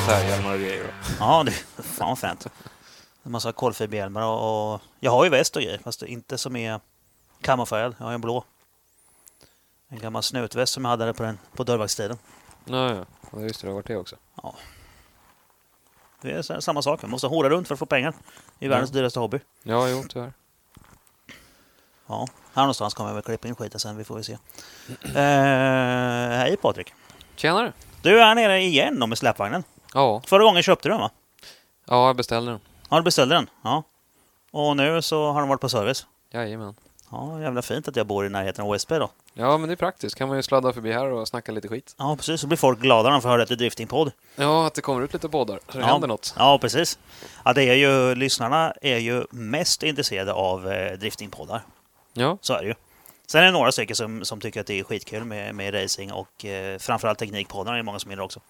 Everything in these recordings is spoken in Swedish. Gitarrhjälmar och grejer. då. Ja, det, fan vad fränt. En massa kolfiberhjälmar och, och... Jag har ju väst och grejer, fast det är inte som är kamouflerad. Jag har ju en blå. En gammal snutväst som jag hade på, den, på dörrvaktstiden. Ja, ja. ja, just det. Det har varit det också. Det är så- samma sak. Man måste hora runt för att få pengar. Det är världens dyraste hobby. Ja, jo, tyvärr. Ja, här någonstans kommer jag väl klippa in skiten sen. Vi får väl se. Eh, hej Patrik. Tjenare! Du är här nere igen då med släpvagnen. Ja, Förra gången köpte du den va? ja, jag beställde den. Ja, du beställde den. Ja. Och nu så har den varit på service. Jajamän. Ja, jävla fint att jag bor i närheten av OSB då. Ja, men det är praktiskt. Kan man ju sladda förbi här och snacka lite skit. Ja, precis. Så blir folk glada när de får höra att det är driftingpodd. Ja, att det kommer ut lite poddar. Så det Ja. händer något. Ja, precis. Ja, det är ju, lyssnarna är ju mest intresserade av eh, driftingpoddar. Ja, Så är det ju. Sen är det några stycken som, som tycker att det är skitkul med, med racing och eh, framförallt teknikpoddarna är det många som gillar också.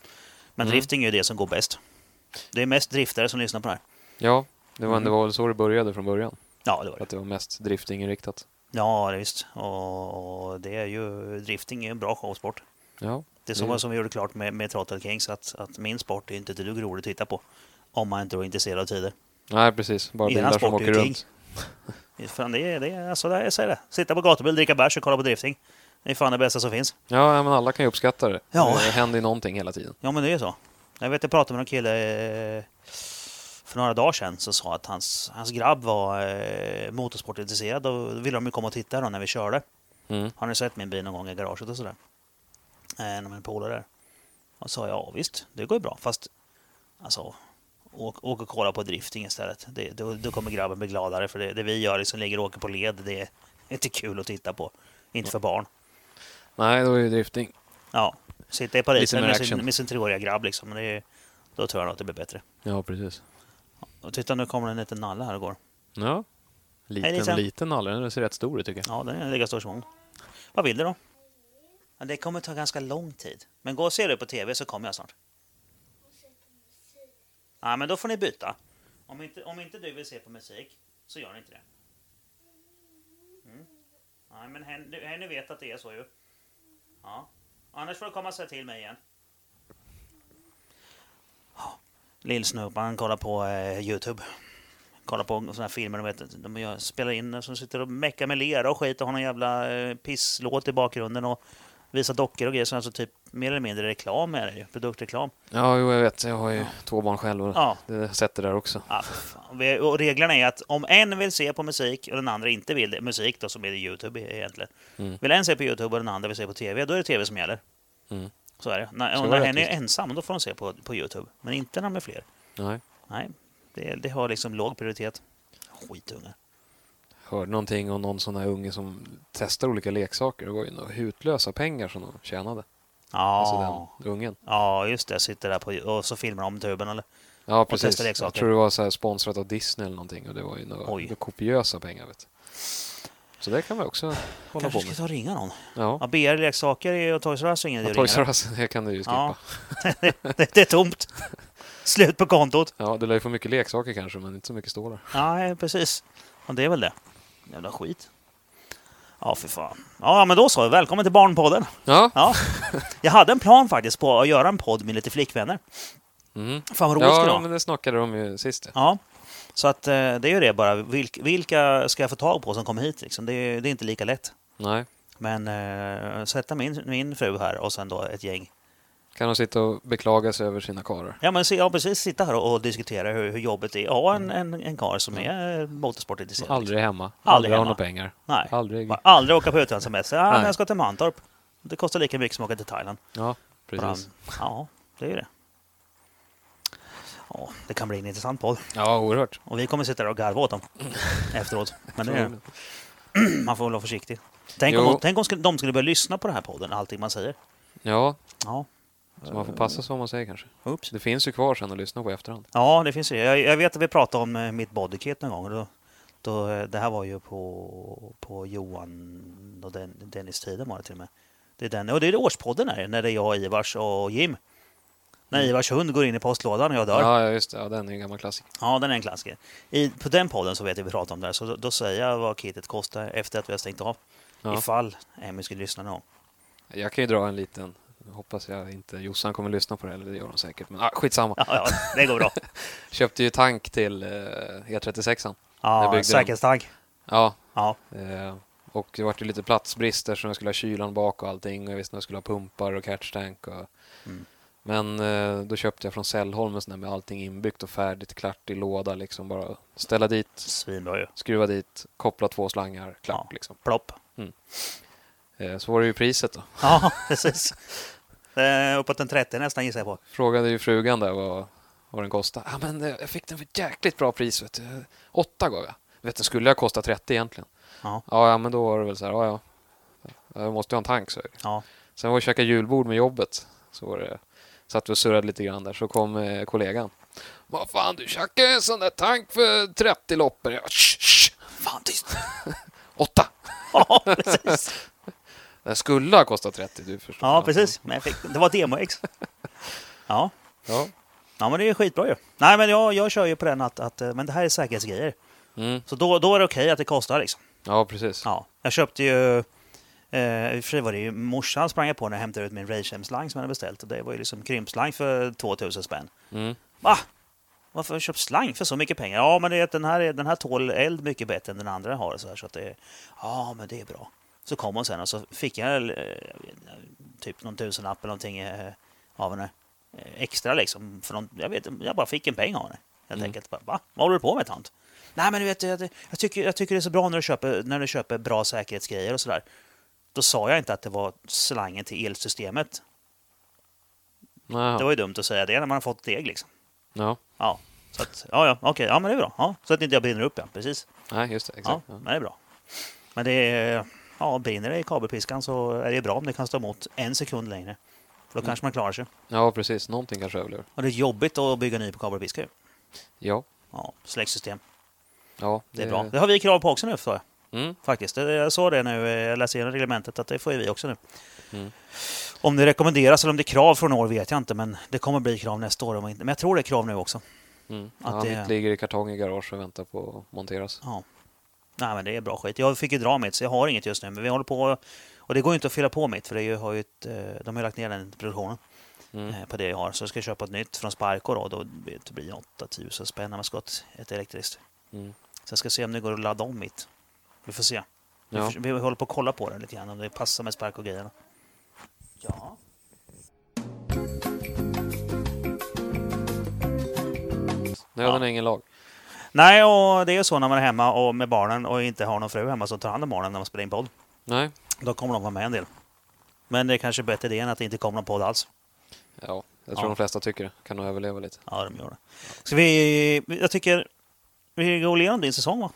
Men Mm. drifting är ju det som går bäst. Det är mest driftare som lyssnar på det här. ja. Det var, Mm. det var väl så det började från början. Ja, det var det. Att det var mest driftinginriktat. Ja, det är visst. Och, och det är ju, drifting är ju en bra showsport. Ja, Det är Mm. så som vi gjorde klart med, med Trottel Kings, att, att min sport är inte ett dugg rolig att titta på. Om man inte är intresserad av tider. nej precis. Bara Eran bilar som sport är åker ju runt. Fan, det, är- det, är- alltså, det, är- jag säger det. Sitta på gatubil, dricka bärs och kolla på drifting. Det är fan det bästa som finns. Ja, ja, men alla kan ju uppskatta det. Ja. Det händer ju någonting hela tiden. Ja, men det är så. Jag vet, jag pratade med en kille eh, för några dagar sedan som sa att hans, hans grabb var eh, motorsportintresserad och då ville de ju komma och titta då när vi körde. Mm. Har ni sett min bil någon gång i garaget och sådär? Eh, när min polare där. Och sa ja, visst, det går ju bra. Fast alltså, åk, åk och kolla på drifting istället. Det, då, då kommer grabben bli gladare för det, det vi gör liksom ligger och åker på led, det är inte kul att titta på. Inte för barn. Nej, det var ju drifting. Ja, sitta i Lite Paris mer med action. sin, med sin treåriga grabb liksom. men Det, är- då tror jag nog att det blir bättre. Ja, precis. Och titta, nu kommer det en liten nalle här och går. Ja. Liten, Lisa. liten nalle. Den ser rätt stor ut tycker jag. Ja, den är lika stor som hon. Vad vill du då? Ja, det kommer ta ganska lång tid. Men gå och se det på tv så kommer jag snart. Ja, men då får ni byta. Om inte, om inte du vill se på musik så gör ni inte det. Mm. Nej, men hen, du- Henny vet att det är så ju. Ja. Annars får du komma och säga till mig igen. Ja, Lill-Snurpan kollar på eh, Youtube kollar på såna här filmer, de, vet, de gör, spelar in som sitter och meckar med lera och skit och har någon jävla eh, pisslåt i bakgrunden och visar dockor och grejer. Så alltså typ mer eller mindre reklam är det ju, produktreklam. Ja, jo, jag vet. Jag har ju två barn själv och Ja. det jag sett det där också. Ah, för fan. Vi- och reglerna är att om en vill se på musik och den andra inte vill det, musik då som är det Youtube e- egentligen. Mm. Vill en se på Youtube och den andra vill se på TV, då är det TV som gäller. Mm. Så är det. När, Så och när är det hen är faktiskt. ensam, då får hon se på, på Youtube. Men inte när de är fler. Nej. Nej, det, det har liksom låg prioritet. Skitungar. Hörde någonting om någon sån här unge som testar olika leksaker. Det var ju några hutlösa pengar som de tjänade. Ja. Alltså den ungen. Ja, just det. Jag sitter där på, och så filmar de tuben. Eller? Ja, testa precis. Jag leksaker. tror det var så här sponsrat av Disney eller någonting och det var ju några Oj. några kopiösa pengar. Vet. du. Så det kan man också hålla Kanske på ska med. ta och ringa någon. Ja. Ja, BR Leksaker är- och Toys R Us är ingen idé Ja, att Toys R ringa. Us, det kan du ju Ja. skippa. Det, det är tomt. Slut på kontot. Ja, du lär ju få mycket leksaker kanske, men inte så mycket stålar. Nej, precis. Ja, det är väl det. Jävla skit. Ja, för fan. Ja, men då så. Välkommen till Barnpodden. Ja, Ja. Jag hade en plan faktiskt på att göra en podd med lite flickvänner. mm. Fan vad roligt ja, skulle det ja vara. men det snackade de ju sist. ja. Ja, så att eh, det är ju det bara. Vilk, vilka ska jag få tag på som kommer hit? Liksom? Det, är, det är inte lika lätt. Nej. Men eh, sätta min, min fru här och sen då ett gäng. Kan de sitta och beklaga sig över sina karlar? Ja, men se- ja, precis. Sitta här och, och diskutera hur, hur jobbet är. Ja, en, en, en karl som är eh, motorsportintresserad. Aldrig hemma. Aldrig, har hemma. några pengar. Nej. Aldrig. Bara Aldrig åka på utlandssemester. Ja, men Nej. jag ska till Mantorp. Det kostar lika mycket som att åka till Thailand. Ja, precis. Bara, Ja, det är ju det. Ja, det kan bli en intressant podd. Ja, oerhört. Och vi kommer sitta där och garva åt dem efteråt. Men det är, man får väl vara försiktig. Tänk Jo. om, tänk om skulle- de skulle börja lyssna på den här podden, allting man säger. Ja, Ja, Så man får passa sig vad man säger kanske. Oops. Det finns ju kvar sen att lyssna på i efterhand. Ja, det finns ju. Jag, jag vet att vi pratade om eh, mitt bodykit någon gång. och Då, då, eh, det här var ju på, på Johan och Den, Dennis-tiden var det till och med. Det är, den, och det är det årspodden här, när det är jag, Ivars och Jim. När Ivars hund går in i postlådan och jag dör. Mm. Ja, Ja, just det. Ja, den är en gammal klassiker. den är en klassiker. I, på den podden så vet jag vi pratade om det här, så då, då säger jag vad kitet kostar efter att vi har stängt av. Ja. Ifall Emmy skulle lyssna någon gång. Jag kan ju dra en liten. Hoppas jag inte Jossan kommer lyssna på det, eller det gör hon säkert. Men ah, skitsamma. Ja, ja, det går bra. Köpte ju tank till eh, E36an. Jag Ja, byggde säkerhetstagg. Ja, Ja, eh, och det vart ju lite platsbrister så jag skulle ha kylan bak och allting och jag visste att jag skulle ha pumpar och catchtank. Och... Mm. Men eh, då köpte jag från Sällholm en sån där med allting inbyggt och färdigt, klart i låda liksom. Bara ställa dit, svinbra ju. skruva dit, koppla två slangar, klart Ja. liksom. Plopp. Eh, så var det ju priset då. Ja, precis. Eh, Uppåt en 30 nästan gissar jag på. Frågade ju frugan där vad, vad den kostade. Ja, men eh, jag fick den för ett jäkligt bra pris. Vet du. Åtta gav jag. Vet du, skulle jag kosta 30 egentligen? Ja. Ja, ja, men då var det väl så här, ja, ja. Jag måste ju ha en tank, så Ja. Sen var vi och käkade julbord med jobbet. Så var det, satt vi och surrade lite grann där, så kom eh, kollegan. Vad fan, du tjackade en sån där tank för 30 loppor. Jag, "Shh, shh, Fan tyst! åtta! Ja, precis. Den skulle ha kostat 30, du förstår. Ja, precis. Men jag fick, det var demo-ex. Ja. Ja. ja, men det är skitbra ju. Nej, men jag, jag kör ju på den att, att eh, men det här är säkerhetsgrejer. Mm. Så då, då är det okej att det kostar liksom. ja, precis. Ja. Jag köpte ju... Eh, I och för sig var det ju morsan sprang jag på när jag hämtade ut min Raychem-slang som jag hade beställt. Och Det var ju liksom krympslang för 2000 spänn. Mm. Va? Varför har du köpt slang för så mycket pengar? Ja, men det är att den här, är- den här tål eld mycket bättre än den andra har. Så, här, så att det, ja, men det är bra. Så kom hon sen och så fick jag eh, typ någon tusenlapp eller någonting eh, av henne. Eh, Extra liksom. För någon, jag, vet, jag bara fick en peng av henne. Helt Mm. enkelt. Bara, Va? Vad håller du på med tant? Nej, men du vet, jag, jag, tycker, jag tycker det är så bra när du köper, när du köper bra säkerhetsgrejer och sådär. Då sa jag inte att det var slangen till elsystemet. Jaha. Det var ju dumt att säga det när man har fått deg liksom. Ja. Ja, så att, ja, ja, okej, ja, men det är bra. Ja, så att inte jag brinner upp, ja, precis. Nej, just det. Ja, Exakt. Ja. men det är bra. Men det är, ja, brinner det i kabelpiskan så är det bra om det kan stå emot en sekund längre. För då Mm. kanske man klarar sig. ja, precis. Någonting kanske överlever. Och det är jobbigt att bygga ny på kabelpiska ju. Ja. Ja, släcksystem. Ja, Det är bra. Det har vi krav på också nu, förstår jag. Mm. Faktiskt. Det- Jag såg det nu, eh, jag läste igenom reglementet, att det får ju vi också nu. Mm. Om det rekommenderas eller om det är krav från år vet jag inte, men det kommer bli krav nästa år. om inte- Men jag tror det är krav nu också. Mm. Att ja, det- Mitt ligger i kartong i garage och väntar på att monteras. Ja. Nej, men det är bra skit. Jag fick ju dra mitt, så jag har inget just nu. Men vi håller på och det går ju inte att fylla på mitt, för det är ju, har ju ett, eh, de har ju lagt ner den produktionen Mm. eh, på det jag har. Så jag ska köpa ett nytt från Sparko då. Då blir det blir 8000 spänn när man ska ha ett- ett elektriskt. Mm. Så jag ska se om det går att ladda om mitt. Vi får se. Vi, Ja. får, vi håller på att kolla på det lite grann, om det passar med Sparko-grejerna. Ja. Nöden Ja. är ingen lag. Nej, och det är ju så när man är hemma och med barnen och inte har någon fru hemma som tar hand om barnen när man spelar in podd. Nej. Då kommer de vara med en del. Men det är kanske bättre det än att det inte kommer någon podd alls. Ja, jag tror Ja. de flesta tycker det. Kan nog överleva lite. Ja, de gör det. Ska vi... Jag tycker... Vi går igenom din säsong, va?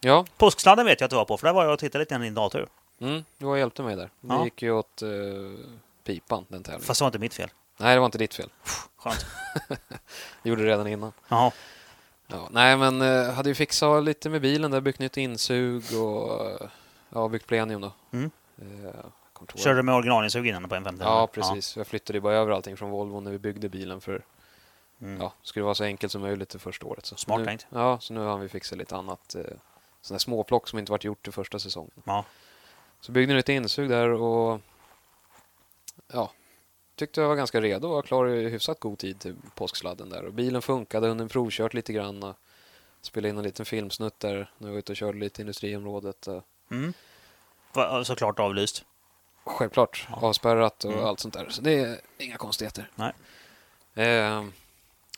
Ja, Påsksladden vet jag att du var på, för där var jag och tittade lite grann i din dator. mm, du har hjälpte mig där. Det Ja. gick ju åt eh, pipan, den tävlingen. Fast det var inte mitt fel. Nej, det var inte ditt fel. Skönt. Det gjorde du redan innan. Jaha. Ja, nej, men eh, hade ju fixat lite med bilen där, byggt nytt insug och eh, ja, byggt plenium då. Mm. Eh, kommer inte ihåg. Körde du med originalinsug innan på en 50 Ja, precis. Jag flyttade ju bara över allting från Volvo när vi byggde bilen för Ja. Mm. ja, skulle vara så enkelt som möjligt det första året. Så. Smart nu, tänkt. Ja, så nu har vi fixat lite annat. Eh, sådana småplock som inte varit gjort i första säsongen. Ja. Så byggde nytt insug där och ja, tyckte jag var ganska redo och var klar i hyfsat god tid till påsksladden där. Och bilen funkade, hunden provkört lite grann och spelade in en liten filmsnutt där när jag var ute och körde lite i industriområdet. eh, Och Mm. Va- Såklart avlyst. Självklart Ja. avspärrat och Mm. allt sånt där. Så det är inga konstigheter. Nej. Eh,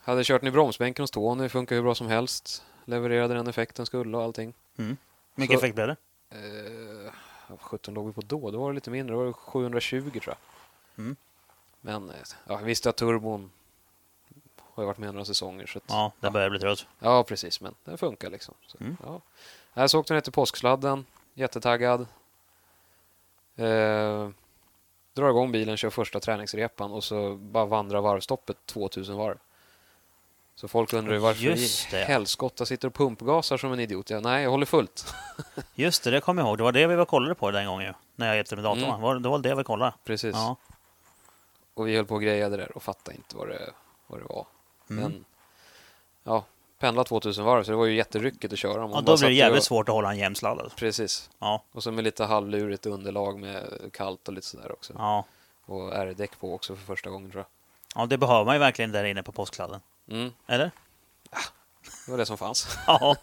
hade kört den i bromsbänken hos Tony, funkar hur bra som helst. Levererade den effekten skulle och allting. Mycket Så- effekt blev det. Eh, vad 17 låg vi på då? Då var det lite mindre. Då var det 720 tror jag. Mm. Men eh, ja, jag visste att turbon har ju varit med några säsonger. Så att, ja. Ja, där började jag bli trött. precis. Men den funkar liksom. Så, Mm. ja. Jag såg den efter påsksladden. Jättetaggad. Eh, Drar igång bilen, kör första träningsrepan och så bara vandrar varvstoppet 2000 varv. Så folk undrar ju varför Just i det. helskotta sitter och pumpgasar som en idiot. Ja, nej, jag håller fullt. Just det, det kommer jag ihåg. Det var det vi var kollade på den gången ju. När jag hjälpte med datorn. Mm. Var- Det var det vi kollade. Precis. Ja. Och vi höll på och grejade där och fattade inte vad det, vad det var. Mm. Men ja, pendla 2000 varv, så det var ju jätteryckigt att köra. Man ja, bara då satt blir ju det jävligt och- svårt att hålla en jämn sladdad. Precis. Ja. Och så med lite halvlurigt underlag med kallt och lite sådär också. Ja. Och R-däck på också för första gången tror ja, det behöver man ju verkligen där inne på påskkladden. jag. Mm, Eller? det var det som fanns. Ja.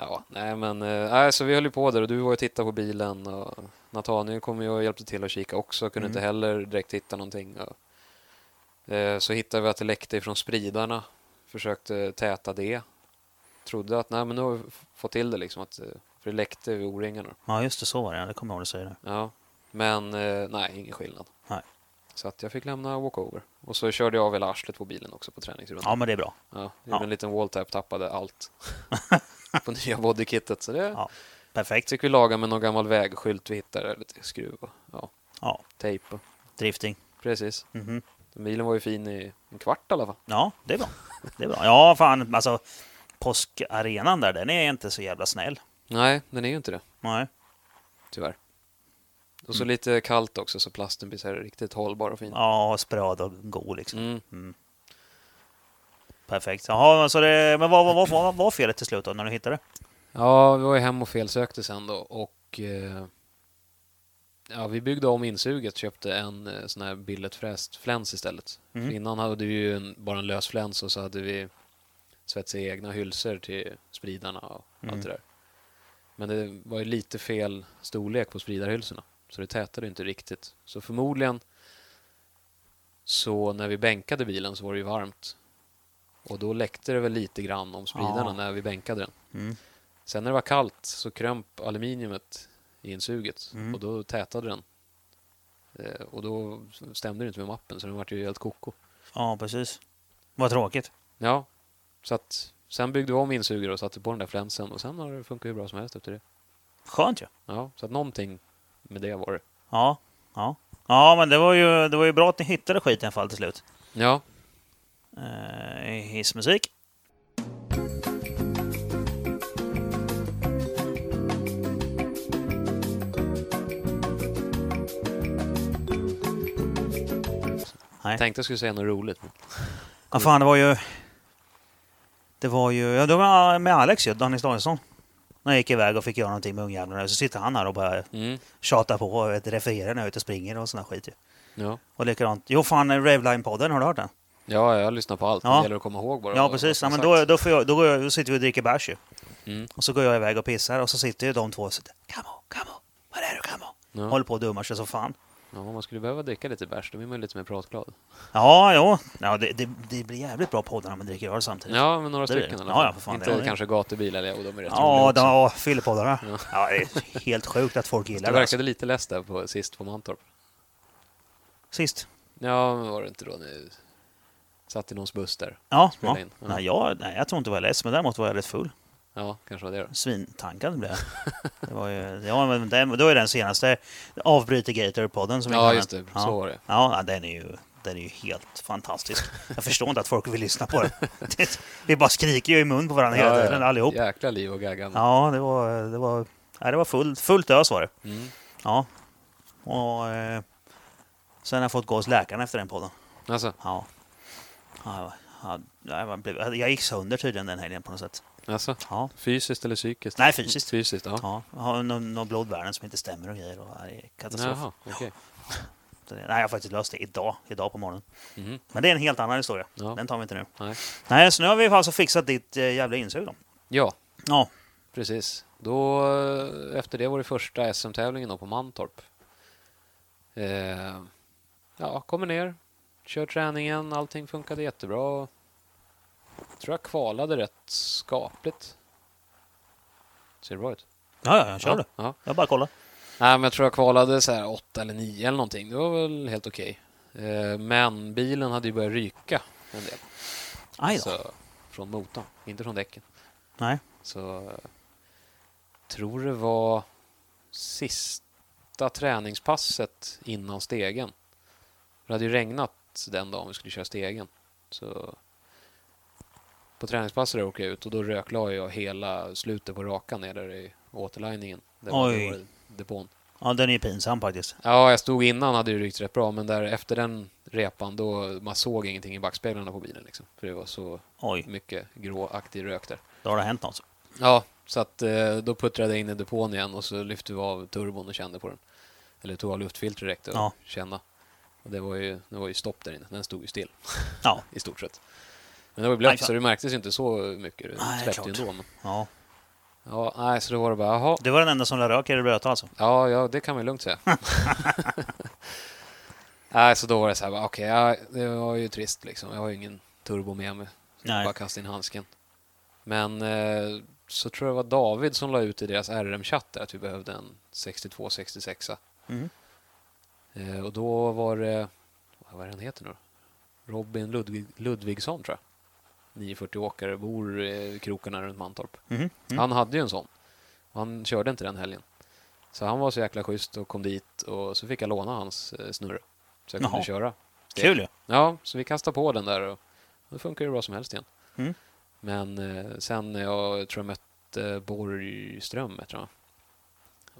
Ja, nej men eh, nej, så vi höll ju på där och du var ju och tittade på bilen och Nathaniel kom ju och hjälpte till att kika också, kunde Mm. inte heller direkt hitta någonting. Och, eh, så hittade vi att det läckte ifrån spridarna, försökte täta det. Trodde att nej men nu har vi f- fått till det liksom, att, eh, för det läckte vid O-ringarna. ja, just det. Så var det. ja. Det kommer jag ihåg att du säger nu. Ja, men eh, nej, ingen skillnad. Nej. Så att jag fick lämna walkover. Och så körde jag av hela arslet på bilen också på träningsrundan. Ja, men det är bra. Ja, gjorde Ja. en liten walltap, tappade allt på nya bodykittet. Så det Ja. Perfekt. fick vi laga med någon gammal vägskylt vi hittade, lite skruv och ja, Ja, tejp. och- drifting. Precis. Mhm. Bilen var ju fin i en kvart i alla fall. Ja, det är bra. Det är bra. Ja, fan alltså. Påskarenan där, den är inte så jävla snäll. Nej, den är ju inte det, Nej. tyvärr. Och så lite kallt också, så plasten blir så här riktigt hållbar och fin. Mm. Ja, spröd och god liksom. Mm. Mm. Perfekt. Jaha, så det, men vad, vad, vad, vad var felet till slut då, när du hittade det? Ja, vi var ju hem och felsökte sen då och eh, ja, vi byggde om insuget, köpte en eh, sån här billigt fräst fläns istället. Mm. För innan hade vi ju en, bara en lös fläns och så hade vi svetsade egna hylsor till spridarna och Mm. allt det där. Men det var ju lite fel storlek på spridarhylsorna, så det tätade inte riktigt. Så förmodligen så när vi bänkade bilen så var det ju varmt. Och då läckte det väl lite grann om spridarna Ja. när vi bänkade den. Mm. Sen när det var kallt så krömp aluminiumet i insuget Mm. och då tätade den. Eh, och då stämde det inte med mappen så den vart ju helt koko. Ja, precis. Vad tråkigt. Ja, så att sen byggde vi om insuget och satte på den där flänsen och sen har det funkat hur bra som helst efter det. Skönt ju. Ja, så att någonting med det var det. Ja, ja. Ja, men det var ju, det var ju bra att ni hittade skiten i alla fall till slut. Ja, Eh, hissmusik. Nej. tänkte jag skulle säga något roligt. Ja, fan, det var ju... Det var ju... Ja, det var med Alex ju, Dennis Danielsson. När jag gick iväg och fick göra någonting med ungjävlarna. Så sitter han här och bara Mm, tjatar på och vet, refererar när jag är ute och springer och sån här skit ju. ja. Och likadant. Jo, fan, Raveline-podden, har du hört den? ja, jag lyssnar på allt. Ja. Det gäller att komma ihåg bara. Ja, vad- precis. Ja, vad men som då, sagts. då, får jag, då, går jag, då sitter vi och dricker bärs ju. Mm. Och så går jag iväg och pissar och så sitter ju de två och sitter Come on, come on, var är du, come on? Ja. Håller på och dummar sig som fan. ja, man skulle behöva dricka lite bärs, då blir man ju lite mer pratglad. Ja, jo. Ja, det, det, det blir jävligt bra poddar när man dricker öl samtidigt. Ja, men några Det blir stycken i det. alla Ja, ja, för fan, det Inte är det. kanske gatubil, eller jo, de är rätt Ja, roliga också. ja fyllepoddarna. Ja. det är helt sjukt att folk gillar Du det. Alltså. verkade lite less där på, sist på Mantorp. Sist. Ja, men var det inte då ni satt i någons buss där? Ja, Spela ja. in. Ja. Nej, jag, nej, jag tror inte jag var less, men däremot var jag rätt full. Ja, kanske var det då. Svintankad blev jag. Det var ju, ja, men det, då är den senaste Avbryter Gator-podden som vi kallar Ja, den. just det. Så var det. Ja, ja, den är ju, den är ju helt fantastisk. Jag förstår inte att folk vill lyssna på den. Det- Vi bara skriker ju i mun på varandra hela tiden, allihop. Jäkla liv och gaggan. Ja, det var, det var, nej, det var fullt, fullt ös var det. Mm. Ja. Och, eh, sen har jag fått gå hos läkaren efter den podden. Alltså, Ja. ja, ja, jag, var- blev- jag gick sönder tydligen den helgen på något sätt. alltså, Ja, fysiskt eller psykiskt? Nej, fysiskt. Fysiskt, ja. ja. jag har någon, någon blodvärden som inte stämmer och grejer. Och, ja, det är katastrof. Jaha, okej. Så det- Nej, jag har faktiskt löst det idag, idag på morgonen. Mhm. Men det är en helt annan historia. Ja. Den tar vi inte nu. Nej. Nej, så nu har vi alltså fixat ditt eh, jävla insug då. Ja, Ja. precis. Då, eh, efter det var det första SM-tävlingen då på Mantorp. Eh, ja, kommer ner, kör träningen, allting funkade jättebra. Tror jag kvalade rätt skapligt. Ser det bra ut? Ja, ja, jag kör ja, du. Ja. Jag bara kollar. Nej, men jag tror jag kvalade så här åtta eller nio eller någonting. Det var väl helt okej. Eh, Men bilen hade ju börjat ryka en del. Aj då. Så, från motorn, inte från däcken. Nej. Så eh, tror det var sista sista träningspasset innan stegen. Det hade ju regnat den dagen vi skulle köra stegen. Så på träningspasset där åker jag ut och då röklade jag hela slutet på rakan ner där i återliningen. Där var- Oj. där var depån. Ja, den är ju pinsam faktiskt. Ja, jag stod innan hade ju rykt rätt bra, men där efter den repan då man såg ingenting i backspeglarna på bilen liksom. För det var så Oj, mycket gråaktig rök där. då har det hänt något. Ja, så att eh, då puttrade jag in i depån igen och så lyfte vi av turbon och kände på den. Eller tog av luftfiltret direkt och Ja. känna. Och det var ju, det var ju stopp där inne. Den stod ju still Ja, i stort sett. Men det var ju blött Nej, så det märktes ju inte så mycket. Det Nej, släppte ju klart. ändå. Men, ja. ja, nej, så då var det bara, jaha. Det var den enda som lade rök i det blöta alltså. Ja, ja, det kan man ju lugnt säga. nej, så då var det så här, bara, okej, ja, det var ju trist liksom. Jag har ju ingen turbo med mig. Nej. Bara kasta in handsken. Men eh, så tror jag det var David som la ut i deras RM-chatt där att vi behövde en 62-66. Mm. Eh, och då var det, vad är han heter nu då? Robin Ludvig, Ludvigsson tror jag. 940-åkare, bor i krokarna runt Mantorp. Mhm. Mm. Han hade ju en sån. Och han körde inte den helgen. Så han var så jäkla schysst och kom dit och så fick jag låna hans eh, snurre. Så jag kunde Jaha. köra. Kul ju. Ja, så vi kastar på den där och då funkar det bra som helst igen. Mm. Men eh, sen när jag tror jag mötte Borgström, tror jag.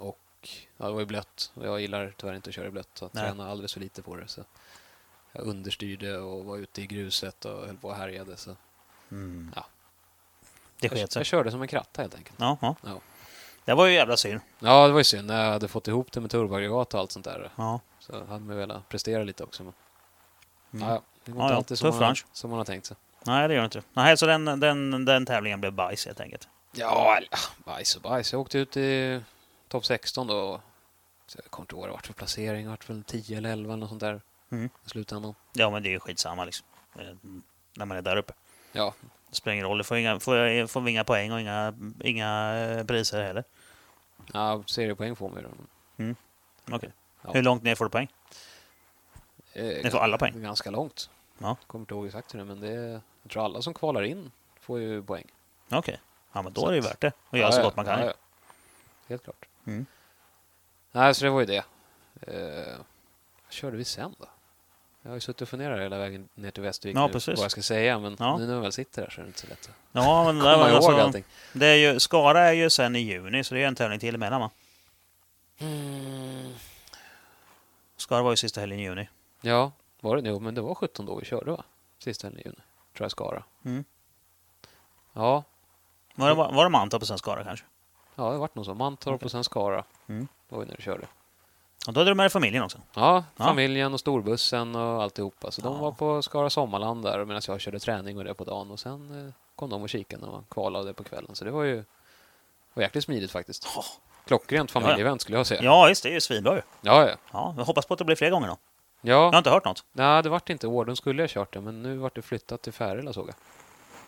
Och ja, det var ju blött och jag gillar tyvärr inte att köra i blött så jag Nej. tränade alldeles för lite på det. Så jag understyrde och var ute i gruset och höll på och härjade. Så Mm. Ja. Det jag, sket sig. jag körde som en kratta helt enkelt. Ja, ja. Ja. Det var ju jävla synd. Ja, det var ju synd när jag hade fått ihop det med turboaggregat och allt sånt där. Ja. Så hade man ju velat prestera lite också. Men, Mm. ja, ja, det går Ja, inte ja, alltid som tuff man, bransch. som man har tänkt sig. Nej, det gör det inte. Nej, så den, den, den tävlingen blev bajs helt enkelt. Ja, eller, ah, bajs och bajs. Jag åkte ut i topp 16 då. Så jag kommer inte ihåg vad det vart för placering. Det vart väl 10 eller 11 eller något sånt där Mm. i slutändan. Ja, men det är ju skitsamma liksom. Eh, När man är där uppe. Ja, Det spelar ingen roll. Det får, inga, får, får vi inga poäng och inga, inga eh, priser heller. ja seriepoäng får man ju då. Okej. Ja. Hur långt ner får du poäng? Eh, Ni får alla poäng. Ganska långt. Ja. Kommer inte ihåg exakt hur det är, men det är, jag tror alla som kvalar in får ju poäng. Okej. Ja, men då är det ju värt det. Och göra Ja, så ja, gott man kan. ja, ju. ja. Helt klart. Mm. Nej, så det var ju det. Eh, vad körde vi sen då? Jag har ju suttit och funderat hela vägen ner till Västervik Ja, nu, precis. vad jag ska säga, men Ja. nu när jag väl sitter här så är det inte så lätt att Ja, men det där komma var ihåg alltså, allting. det är ju, Skara är ju sen i juni, så det är en tävling till emellan va? Mm. Skara var ju sista helgen i juni. Ja, var det? Jo, men det var 17 då vi körde va? Sista helgen i juni, tror jag Skara. Mm. Ja, Var det, var, var det Mantorp och sen Skara kanske? ja, det vart nog så. Mantorp och sen Skara. Mm. Det var ju när du körde. Och då hade du med dig familjen också. Ja, Ja. familjen och storbussen och alltihopa. Så de Ja. var på Skara Sommarland där medan jag körde träning och det på dagen. Och sen eh, kom de och kikade när man kvalade på kvällen. Så det var ju var jäkligt smidigt faktiskt. Ja. Klockrent familjeevent skulle jag säga. Ja, just det. Det är ju svinbra ju. ja. ja. Ja, jag hoppas på att det blir fler gånger då. Jag har ja. inte hört något. Nej, det vart inte i år. De skulle ha kört det, men nu vart det flyttat till Färila såg jag.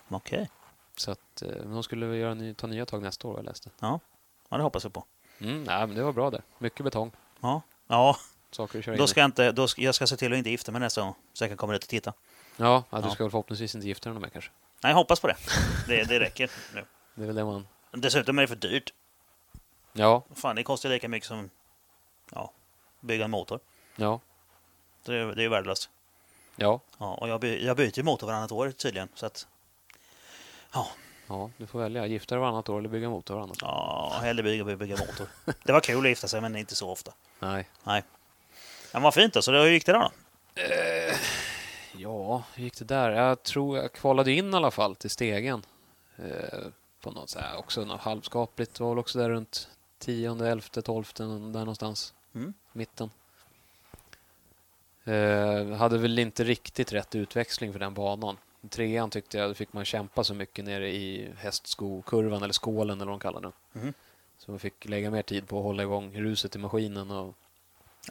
Okej. Så att, eh, men de skulle väl göra ny, ta nya tag nästa år, vad jag läste. Ja, det hoppas vi på. Mm, nej, men det var bra där. Mycket betong. Ja, ja Saker att köra in då i. ska jag inte... Då ska, jag ska se till att inte gifta mig nästa gång. Så jag kan komma dit och titta. Ja, ja, du Ja. ska väl förhoppningsvis inte gifta dig med kanske. Nej, jag hoppas på det. Det, det räcker nu. Det är väl det man... Dessutom är det för dyrt. Ja, Fan, det kostar lika mycket som... Ja, bygga en motor. ja, Det är, det är ju värdelöst. ja. Ja, och jag, by, jag byter ju motor varannat år tydligen. Så att... Ja, du får välja. Gifta dig varannat år eller bygga motor varannat år. Ja, hellre bygga, bygga motor. Det var kul att gifta sig, men inte så ofta. Nej. Men vad fint då. Så hur gick det då? då? Ja, hur gick det där? Jag tror jag kvalade in i alla fall till stegen. Eh, på något så här, också något halvskapligt. Det var väl också där runt tionde, elfte, tolfte, där någonstans. Mm. Mitten. Eh, hade väl inte riktigt rätt utväxling för den banan. Trean tyckte jag, då fick man kämpa så mycket nere i hästskokurvan eller skålen eller vad de kallar den. Mm. Så man fick lägga mer tid på att hålla igång ruset i maskinen och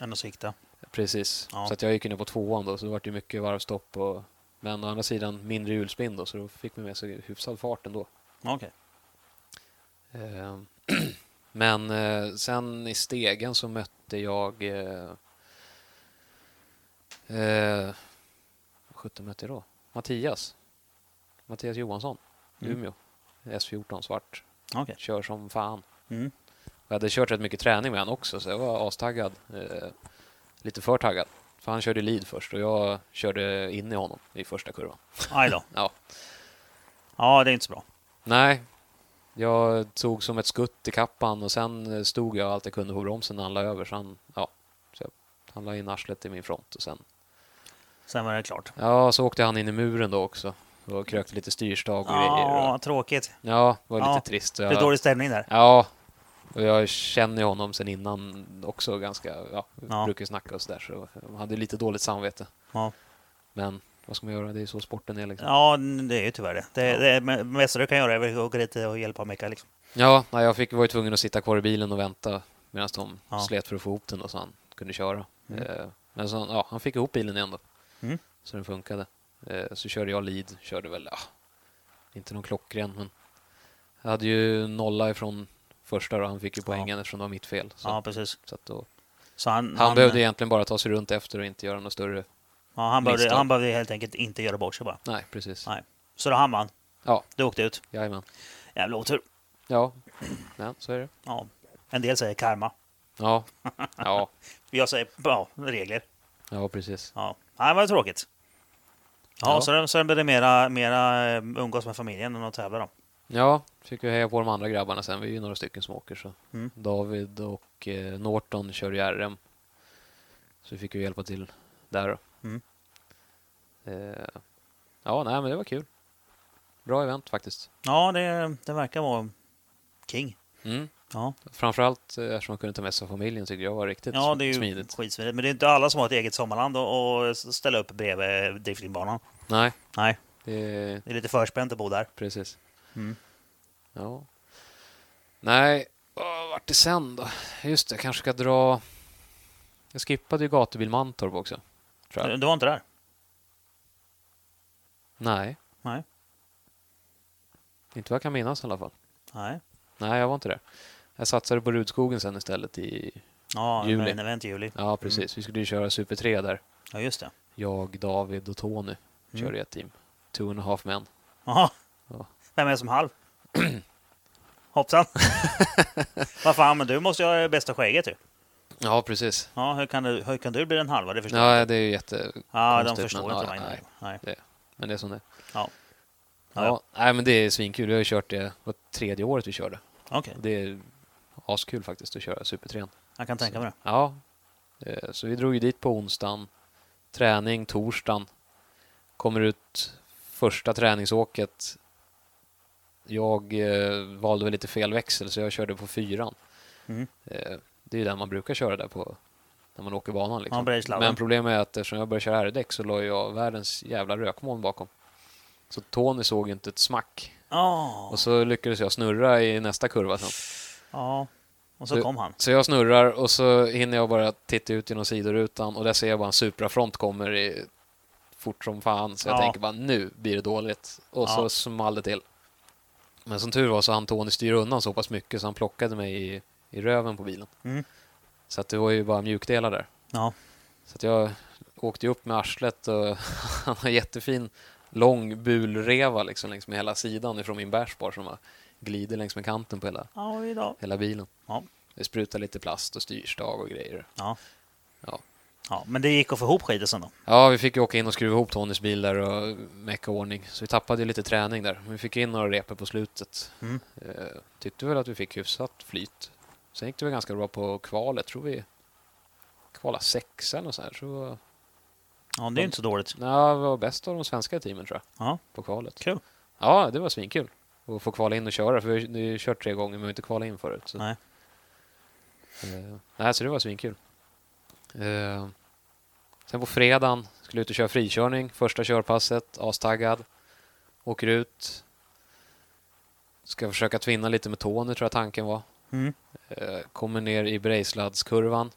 Än att sikta. Precis. Ja. Så att jag gick ner på tvåan då, så det var ju mycket varvstopp. Och... Men å andra sidan mindre hjulspinn då, så då fick man med sig hyfsad fart ändå. Okej. Eh, Men eh, sen i stegen så mötte jag... Eh, eh, vad sjutton mötte jag då? Mattias. Mattias Johansson, Mm. Umeå. S14 svart. Okej. Kör som fan. Mm. Jag hade kört rätt mycket träning med han också, så jag var astaggad. Eh, lite för taggad. För han körde lead först och jag körde in i honom i första kurvan. Aj då. Ja. Ja, det är inte så bra. Nej, jag tog som ett skutt i kappan och sen eh, stod jag allt jag kunde på bromsen när han la över. Så han, ja, så jag, han la in arslet i min front och sen Sen var det klart. Ja, så åkte han in i muren då också och krökte lite styrstag och grejer. Ja, Och, tråkigt. ja, det var lite Ja, trist. Det Jag, är dålig stämning där. Ja, och jag känner ju honom sen innan också ganska, ja, vi Ja. brukar ju snacka och sådär, så jag hade lite dåligt samvete. Ja. Men vad ska man göra, det är ju så sporten är liksom. Ja, det är ju tyvärr det. det, det men- mesta du kan göra är väl att åka dit och hjälpa Mika. Liksom. Ja, nej, jag fick, var ju tvungen att sitta kvar i bilen och vänta medan de Ja. slet för att få ihop den då, så han kunde köra. Mm. Eh, Men så, han- ja, han fick ihop bilen igen då, Mm. så den funkade. Eh, Så körde jag lead, körde väl, ja, inte någon klockren, men jag hade ju nolla ifrån första då, han fick ju poängen eftersom det var mitt fel. Så, Ja, precis. så att då, Så han, han, behövde egentligen bara ta sig runt efter och inte göra något större. ja, han, behövde, misstag. han behövde helt enkelt inte göra bort sig bara. Nej, precis. Nej. Så då han vann. Ja, Du åkte ut. jajamän. Jävla otur. Ja. ja, så är det. Ja. En del säger karma. Ja, ja, Jag säger ja, regler. ja precis. Ja, Nej, det var tråkigt. Ja, Ja. Så sen, sen blev det mera, mera eh, umgås med familjen än att tävla då. Ja, fick ju heja på de andra grabbarna sen. Vi är ju några stycken som åker. Så. Mm. David och eh, Norton kör ju RM. Så vi fick ju hjälpa till där då. Mm. Eh, ja, nej men det var kul. Bra event faktiskt. Ja, det, det verkar vara king. Mm. Ja, Framförallt eh, eftersom man kunde ta med sig familjen tycker jag var riktigt ja sm- det är ju smidigt. skitsmidigt. Men det är inte alla som har ett eget sommarland och, och ställa upp bredvid driftingbanan. Nej, Nej, det är det är lite förspänt att bo där. precis. Mm. Ja. Nej, åh, vart det sen då? Just det, jag kanske ska dra... Jag skippade ju gatubil Mantorp också. Tror jag. Du, du var inte där? Nej. Nej. Inte vad jag kan minnas i alla fall. Nej. Nej, jag var inte där. Jag satsade på Rudskogen sen istället i... Ja, Juli. men event i juli. Ja, precis. Vi skulle ju köra Super 3 där. Ja, just det. Jag, David och Tony körde i ett team. Two and a half men. Jaha. Ja. Vem är som halv? Hoppsan. Vad fan, men du måste ju ha det bästa skägget ju. Ja, precis. Ja, hur kan du, hur kan du bli den halva? Det förstår jag Ja, inte. det är ju jätte... Ja, de konstigt, förstår men inte ja, vad jag menar. nej. Nej. Men det är som det är. Ja. Ja, Ja, Nej, men det är svinkul. Vi har ju kört det, det var tredje året vi körde. Okej, Och Det är askul faktiskt att köra Super 3. jag kan tänka mig det. Ja, eh, så vi drog ju dit på onsdagen. Träning torsdagen. Kommer ut första träningsåket. Jag eh, valde väl lite fel växel så jag körde på fyran. Mm. Eh, det är ju den man brukar köra där på när man åker banan. Man Liksom. börjar i sladden. Men problemet är att eftersom jag började köra R-däck så la jag världens jävla rökmoln bakom. Så Tony såg ju inte ett smack. Ja, Och så lyckades jag snurra i nästa kurva sen. ja. Och så Du- kom han. Så jag snurrar och så hinner jag bara titta ut genom sidorutan och där ser jag bara en Supra-front kommer i, fort som fan. Så jag Ja. tänker bara nu blir det dåligt. Och Ja. så small det till. Men som tur var så hann Tony styra undan så pass mycket så han plockade mig i, i röven på bilen. Mm. Så att det var ju bara mjukdelar där. Ja, Så att jag åkte ju upp med arslet och han har jättefin lång bulreva liksom längs med hela sidan ifrån min bärspar som bara glider längs med kanten på hela, oj då. hela bilen. Ja. Det sprutar lite plast och styrstag och grejer. Ja. Ja. ja, men det gick att få ihop skidor sen då. Ja, vi fick ju åka in och skruva ihop Tonys bil där och mecka ordning. Så vi tappade ju lite träning där. Men vi fick in några repor på slutet. Mm. Eh, tyckte väl att vi fick hyfsat flyt. Sen gick det väl ganska bra på kvalet. Tror vi kvala sexa eller något sånt här. Tror... Ja, det är ju inte så dåligt. Nej, vi var bäst av de svenska teamen tror jag. Ja, På kvalet. kul. Ja, det var svinkul. Att få kvala in och köra. För vi har ju- vi har ju kört tre gånger men vi har inte kvalat in förut. Så. Nej. Eh, nej, så det var svinkul. Eh, sen på fredagen skulle jag ut och köra frikörning. Första körpasset, astaggad. Åker ut. Ska försöka tvinna lite med Tony, tror jag tanken var. Mm. Eh, kommer ner i Brejsladskurvan.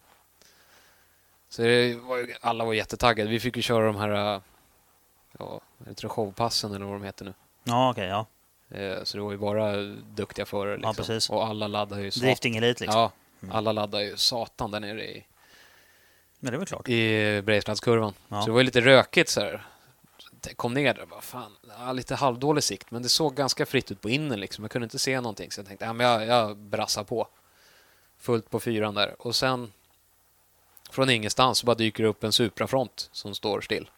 Så det var ju, alla var jättetaggade. Vi fick ju köra de här eh, ja, är det showpassen eller vad de heter nu. Ja, okej, ja. Eh, så det var ju bara duktiga förare. Ja, Liksom. precis. Och alla laddade ju satan. Drifting Elite liksom. Ja, Mm. alla laddar ju satan där nere i, Men det är väl klart. i Breislandskurvan. Ja. Så det var ju lite rökigt så här. Så jag Kom ner där och bara, fan, ja, lite halvdålig sikt, men det såg ganska fritt ut på innen liksom. Jag kunde inte se någonting, så jag tänkte, ja men jag, jag brassar på. fullt på fyran där. Och sen från ingenstans så bara dyker det upp en Supra-front som står still.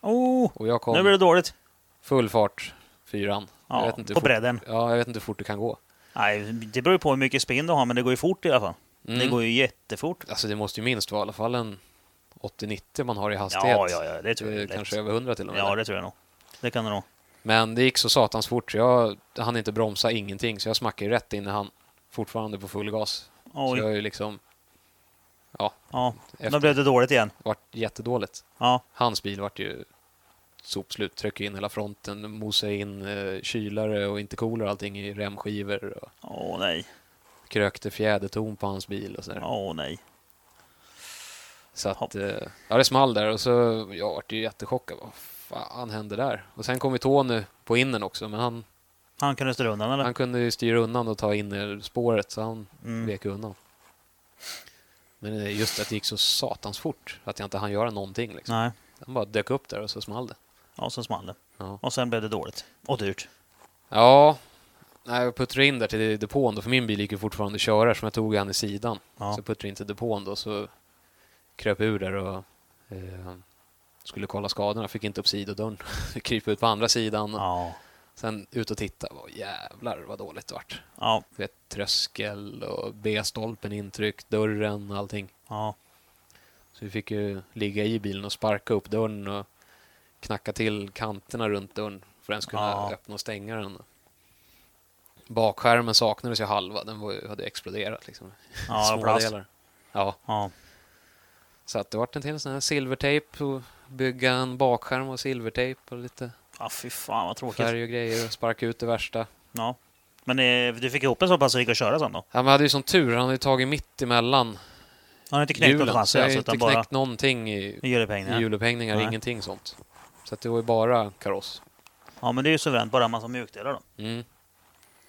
Oh, Och jag nu blir det kom dåligt. full fart, fyran. jag Ja, vet inte på hur fort, bredden. ja, jag vet inte hur fort det kan gå. Nej, det beror ju på hur mycket spinn du har, men det går ju fort i alla fall. Mm. Det går ju jättefort. Alltså det måste ju minst vara i alla fall en 80-90 man har i hastighet. Ja, ja, ja, det tror jag. Eh, är lätt. Kanske över 100 till och med. Ja, det tror jag nog. Det kan det nog. Men det gick så satans fort så jag hann inte bromsa ingenting så jag smackade ju rätt in i han. Fortfarande på full gas. Så Oj. jag är ju liksom... Ja, Ja, efter, nu blev det dåligt igen. vart jättedåligt. Ja, Hans bil vart ju sopslut. Tryckte in hela fronten, mosade in eh, kylare och intercooler och allting i remskivor. Och åh nej. krökte fjäderton på hans bil och sådär. Åh nej. Så att, eh, ja det small där och så, jag vart ju jättechockad. Vad fan hände där? Och sen kom ju Tony på innen också, men han, Han kunde styra undan eller? han kunde ju styra undan och ta in i spåret, så han Mm. vek undan. Men eh, just att det gick så satans fort, att jag inte hann göra någonting liksom. Nej. Han bara dök upp där och så small det. Ja, så small det. Ja. Och sen blev det dåligt. Och dyrt. Ja, nej, jag puttrade in där till depån då, för min bil gick ju fortfarande att köra som jag tog han i sidan. Ja. Så jag puttrade in till depån då, så kröp jag ur där och eh, skulle kolla skadorna. Fick inte upp sidodörren. Krypa ut på andra sidan. Ja. Sen ut och titta. Vad jävlar vad dåligt det vart. Ja. Du vet, tröskel och B-stolpen intryckt, dörren och allting. Ja. Så vi fick ju ligga i bilen och sparka upp dörren och knacka till kanterna runt dörren för att ens kunna Ja. öppna och stänga den. Bakskärmen saknades ju halva, den var ju, hade exploderat liksom. Ja, Små plast. delar. Ja, Ja. så att det vart en till sån här silvertejp och bygga en bakskärm och silvertejp och lite Ja, fy fan vad tråkigt. färg och grejer och sparka ut det värsta. Ja. Men eh, du fick ihop en så pass så det gick att köra sen då? Han hade ju som tur, han hade ju tagit mitt emellan Han har inte knäckt något hjulen. Så chassi jag har alltså, ju inte utan knäckt bara någonting i, i hjulupphängningar? hjulupphängningar, Nej. ingenting sånt. Så att det var ju bara kaross. Ja, men det är ju suveränt. Bara en massa mjukdelar då. Mm.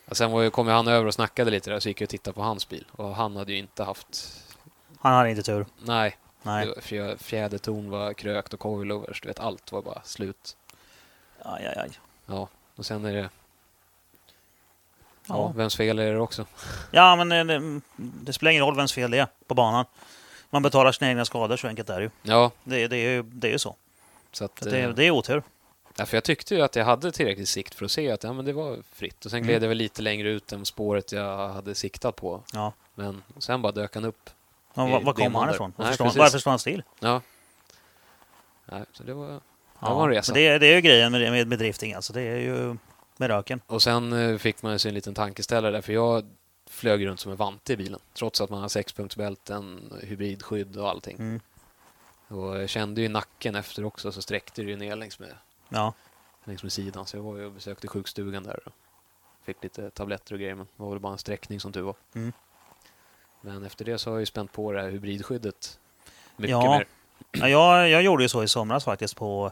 Och sen var ju, kom ju han över och snackade lite där, så gick jag och tittade på hans bil. Och han hade ju inte haft... Han hade inte tur. Nej, Nej. det- fjä- fjäderton var krökt och coilovers, du vet, allt var bara slut. Aj, aj, aj. Ja, och sen är det... Ja, Ja. vems fel är det också? Ja, men eh, det, det spelar ingen roll vems fel det är på banan. Man betalar sina egna skador, så enkelt är det ju. Ja, Det, det, är, ju, det är ju så. så att... så att det, eh, det är otur. Ja, för jag tyckte ju att jag hade tillräckligt sikt för att se att ja, men det var fritt. Och sen gled Mm. jag väl lite längre ut än spåret jag hade siktat på. Ja. Men och sen bara dök han upp. Ja, det- var, var det är kom han måndag. ifrån? Nej, Varför, står, precis. varför står han still? Ja. Nej, så det var... Det var en resa. men Det, det är ju grejen med, med, med drifting alltså. Det är ju med röken. Och sen eh, fick man ju sig en liten tankeställare där, för jag flög runt som en vante i bilen. Trots att man har sexpunktsbälten, hybridskydd och allting. Mm. Och jag kände ju nacken efter också, så sträckte det ju ner längs med, Ja. längs med sidan. Så jag var ju och besökte sjukstugan där och fick lite tabletter och grejer, men det var väl bara en sträckning som tur var. Mm. Men efter det så har jag ju spänt på det här hybridskyddet mycket Ja. mer. Ja, jag, jag gjorde ju så i somras faktiskt på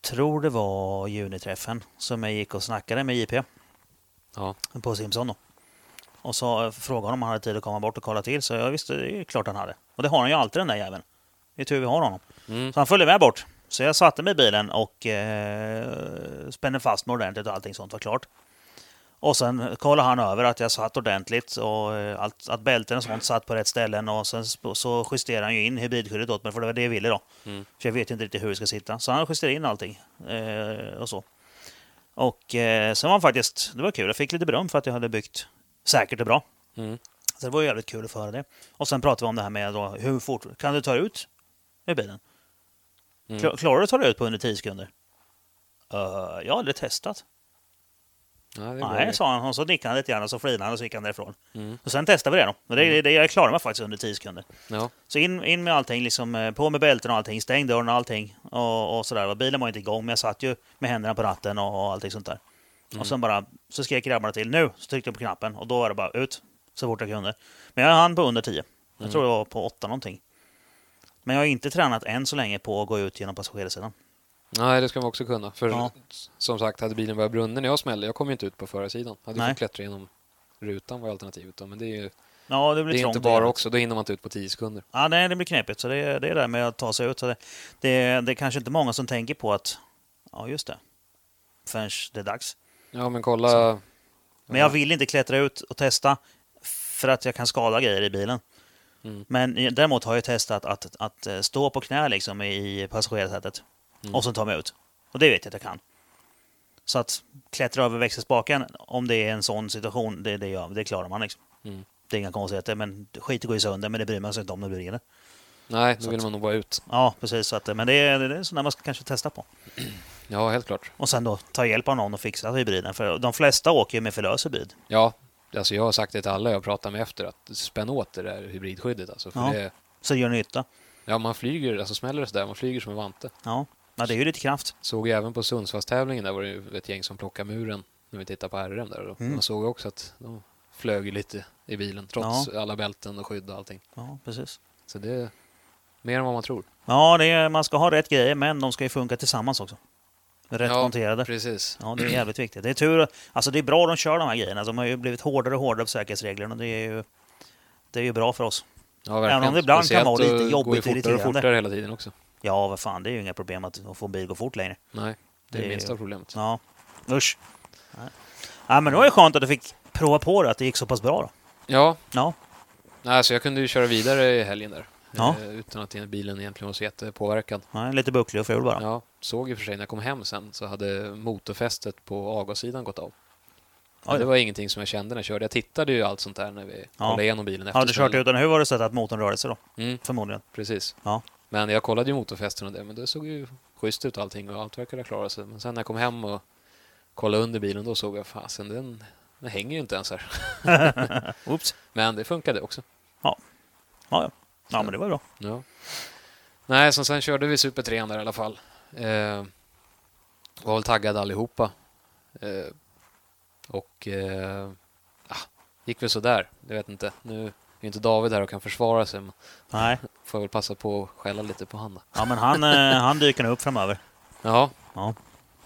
tror det var juniträffen som jag gick och snackade med JP Ja. på Simpson då. Och så frågade honom om han hade tid att komma bort och kolla till så jag visste det är klart han hade. Och det har han ju alltid den där jäveln. Det är tur vi har honom. Mm. Så han följde med bort. Så jag satte mig i bilen och eh, spände fast mig ordentligt och allting sånt var klart. Och sen kollade han över att jag satt ordentligt och eh, allt, att bälten och sånt satt på rätt ställen. Och sen sp- så justerade han ju in hybridskyddet åt mig, för det var det jag ville då. Mm. För jag vet ju inte riktigt hur det ska sitta. Så han justerade in allting eh, och så. Och eh, sen var han faktiskt, det var kul, jag fick lite beröm för att jag hade byggt säkert och bra. Mm. Så det var ju jävligt kul att få höra det. Och sen pratade vi om det här med då, hur fort kan du ta dig ut ur bilen? Mm. Kla- Klarar du att ta dig ut på under 10 sekunder? "Eh, jag har aldrig testat. Ja, det var Nej, det. sa han. Och så nickade han lite grann och så flinade han och så gick han därifrån. Mm. Och sen testade vi det då. Och det, det, jag klarade mig faktiskt under 10 sekunder. Ja. Så in, in med allting, liksom, eh, på med bälten och allting, stäng dörren och allting. Och, och sådär. Och Bilen var ju inte igång, men jag satt ju med händerna på ratten och, och allting sånt där. Mm. Och sen bara, så skrek grabbarna till nu, så tryckte jag på knappen och då var det bara ut så fort jag kunde. Men jag hann på under 10. Jag Mm. tror det var på 8 någonting. Men jag har inte tränat än så länge på att gå ut genom passagerarsidan. Nej, det ska man också kunna. För Ja. som sagt, hade bilen börjat brinna när jag smällde, jag kom ju inte ut på förarsidan. Hade Nej. fått klättra genom rutan var alternativet då, men det är ju Ja, det blir det är trångt. alltså. inte bara igen. också, då hinner man inte ut på 10 sekunder. Ja, nej, det blir knepigt. Så det, det är det där med att ta sig ut. Så det, det, det är kanske inte många som tänker på att, ja just det, förrän det är dags. Ja, men kolla... Men jag vill inte klättra ut och testa för att jag kan skada grejer i bilen. Mm. Men i- däremot har jag testat att, att, eh, stå på knä liksom i passagerarsätet Mm. och sen ta mig ut. Och det vet jag att jag kan. Så att klättra över växelspaken, om det är en sån situation, det, det, gör, det klarar man. Liksom. Mm. Det är inga konstigheter, men skit går ju sönder, men det bryr man sig inte om när det brinner. Nej, då Så vill att- man nog bara ut. Ja, precis. Så att, eh, men det är, det är sådana man ska kanske testa på. Ja, helt klart. Och sen då ta hjälp av någon och fixa hybriden. För de flesta åker ju med för lös hybrid. Ja, alltså jag har sagt det till alla jag pratar med efter att spänn åt det där hybridskyddet. Alltså, för Ja. det, Så det gör nytta. ja, man flyger, alltså smäller det sådär, man flyger som en vante. Ja. ja, det är ju lite kraft. Såg ju även på Sundsvallstävlingen, där var det ju ett gäng som plockade muren när vi tittar på RM där. Och Mm. Man såg också att de flög ju lite i bilen trots alla bälten och skydd och allting. Ja, precis. Så det är mer än vad man tror. Ja, det är, man ska ha rätt grejer, men de ska ju funka tillsammans också. Rätt Ja, monterade. Precis. Ja, det är jävligt viktigt. Det är tur. Alltså det är bra de kör de här grejerna. De har ju blivit hårdare och hårdare på säkerhetsreglerna. Det är ju, det är ju bra för oss. Ja, verkligen. Även om det ibland kan vara Speciellt lite att jobbigt går ju fortare och irriterande. fortare hela tiden också. Ja, vad fan, det är ju inga problem att, att få en bil att gå fort längre. Nej, det är Det det är- minsta problemet. Ja, usch. Nej. Ja, men det var ju skönt att du fick prova på det, att det gick så pass bra. Då. Ja, Ja, nej, alltså jag kunde ju köra vidare i helgen där. Ja. Eh, Utan att bilen egentligen var så jättepåverkad. nej, lite bucklig och ful bara. Ja, såg i och för sig när jag kom hem sen så hade motorfästet på avgassidan gått av. Oj. Men det var ingenting som jag kände när jag körde. Jag tittade ju allt sånt där när vi kollade igenom bilen efter Hade du kört smällen. utan hur var det sett att motorn rörde sig då? Mm, Förmodligen. precis. Ja. Men jag kollade ju motorfästen och det, men det såg ju schysst ut allting och allt verkade klara sig. Men sen när jag kom hem och kollade under bilen då såg jag fasen, den, den hänger ju inte ens här. Oops. Men det funkade också. Ja, ja. ja, men det var bra. Ja. Nej, så sen körde vi Super 3 där i alla fall. Eh, var väl taggade allihopa. Eh, och eh, ah, gick väl sådär. Jag vet inte. Nu är ju inte David här och kan försvara sig, men Nej, får väl passa på att skälla lite på han då. ja, men han, eh, han dyker nog upp framöver. Ja. Ja.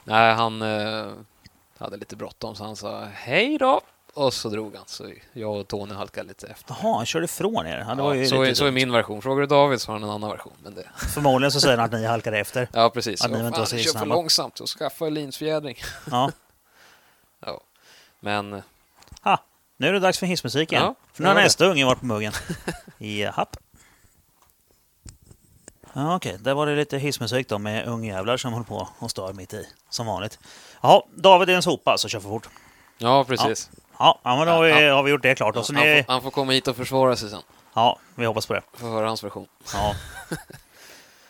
Nej, han eh, hade lite bråttom så han sa hej då. Och så drog han, så jag och Tony halkade lite efter. Jaha, han körde ifrån er. Ja, det var ju Ja, så, är, lite så är min version. Frågar du David så har han en annan version. Men det, Förmodligen så säger han att ni halkade efter. ja, precis. Ja, ni var Ja, inte fan, så ni kör för snabba. långsamt och skaffa linsfjädring. Ja. Ja. Men eh, Nu är det dags för hissmusik igen. Ja, för nu har det var nästa unge varit på muggen. Japp. Ja, Okej, där var det lite hissmusik då med ungjävlar som håller på och stör mitt i. Som vanligt. Ja, David är en sopa, så kör för fort. ja, precis. Ja, ja, men då har vi, har vi gjort det klart. Ja, Och så han, ni, får, han får komma hit och försvara sig sen. ja, vi hoppas på det. Får höra hans version. Ja.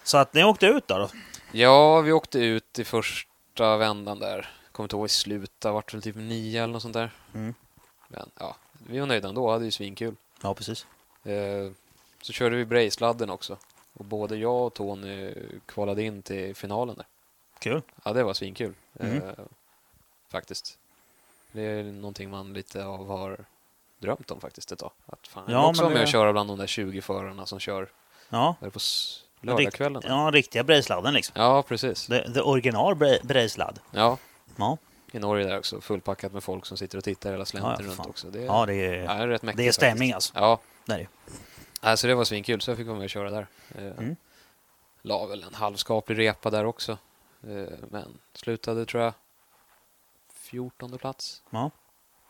Så att ni åkte ut då? då. Ja, vi åkte ut i första vändan där. Kommer inte ihåg i slutet, det vart väl typ nio eller något sånt där. Mm. Men ja, vi var nöjda ändå, hade ju svinkul. Ja, precis. Eh, Så körde vi Brace-sladden också. Och både jag och Tony kvalade in till finalen där. Kul. Ja, det var svinkul. Mm. Eh, faktiskt. Det är någonting man lite av har drömt om faktiskt ett tag. Att fan, jag Ja, vill också men vara med det- och köra bland de där 20 förarna som kör Ja, där på s- lördagskvällen. Rikt, ja riktiga brejsladden liksom. Ja, precis. The, the original brej- brejsladd. Ja, Ja. i Norge där också. Fullpackat med folk som sitter och tittar hela slänten Ja, ja, runt fan. också. Det, ja, det är, ja, det är rätt mäktigt. det är stämning faktiskt. alltså. Det Ja, är det. Alltså det var svinkul, så jag fick vara med och köra där. Eh, Mm. La väl en halvskaplig repa där också. Eh, men slutade, tror jag, 14 plats. Ja,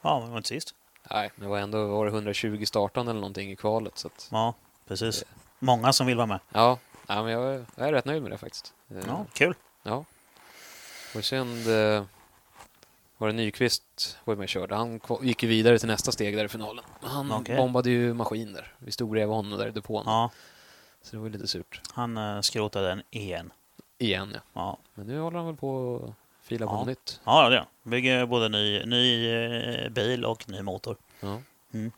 men det var inte sist. Nej, men det var ändå var det 120 startande eller någonting i kvalet. Så att, Ja, precis. Många som vill vara med. ja, nej, men jag, är- jag är rätt nöjd med det faktiskt. Eh, Ja, kul. ja. Och synd eh, var det Nyqvist var ju med och körde. Han kva- gick ju vidare till nästa steg där i finalen. Han Okej. bombade ju maskiner. Vi stod bredvid honom där i depån. Ja, Så det var lite surt. han eh, skrotade den igen. Igen, ja. Ja, Men nu håller han väl på och filar på Ja. något nytt. ja ja, det gör han. Bygger både ny, ny eh, bil och ny motor. Ja. Mm.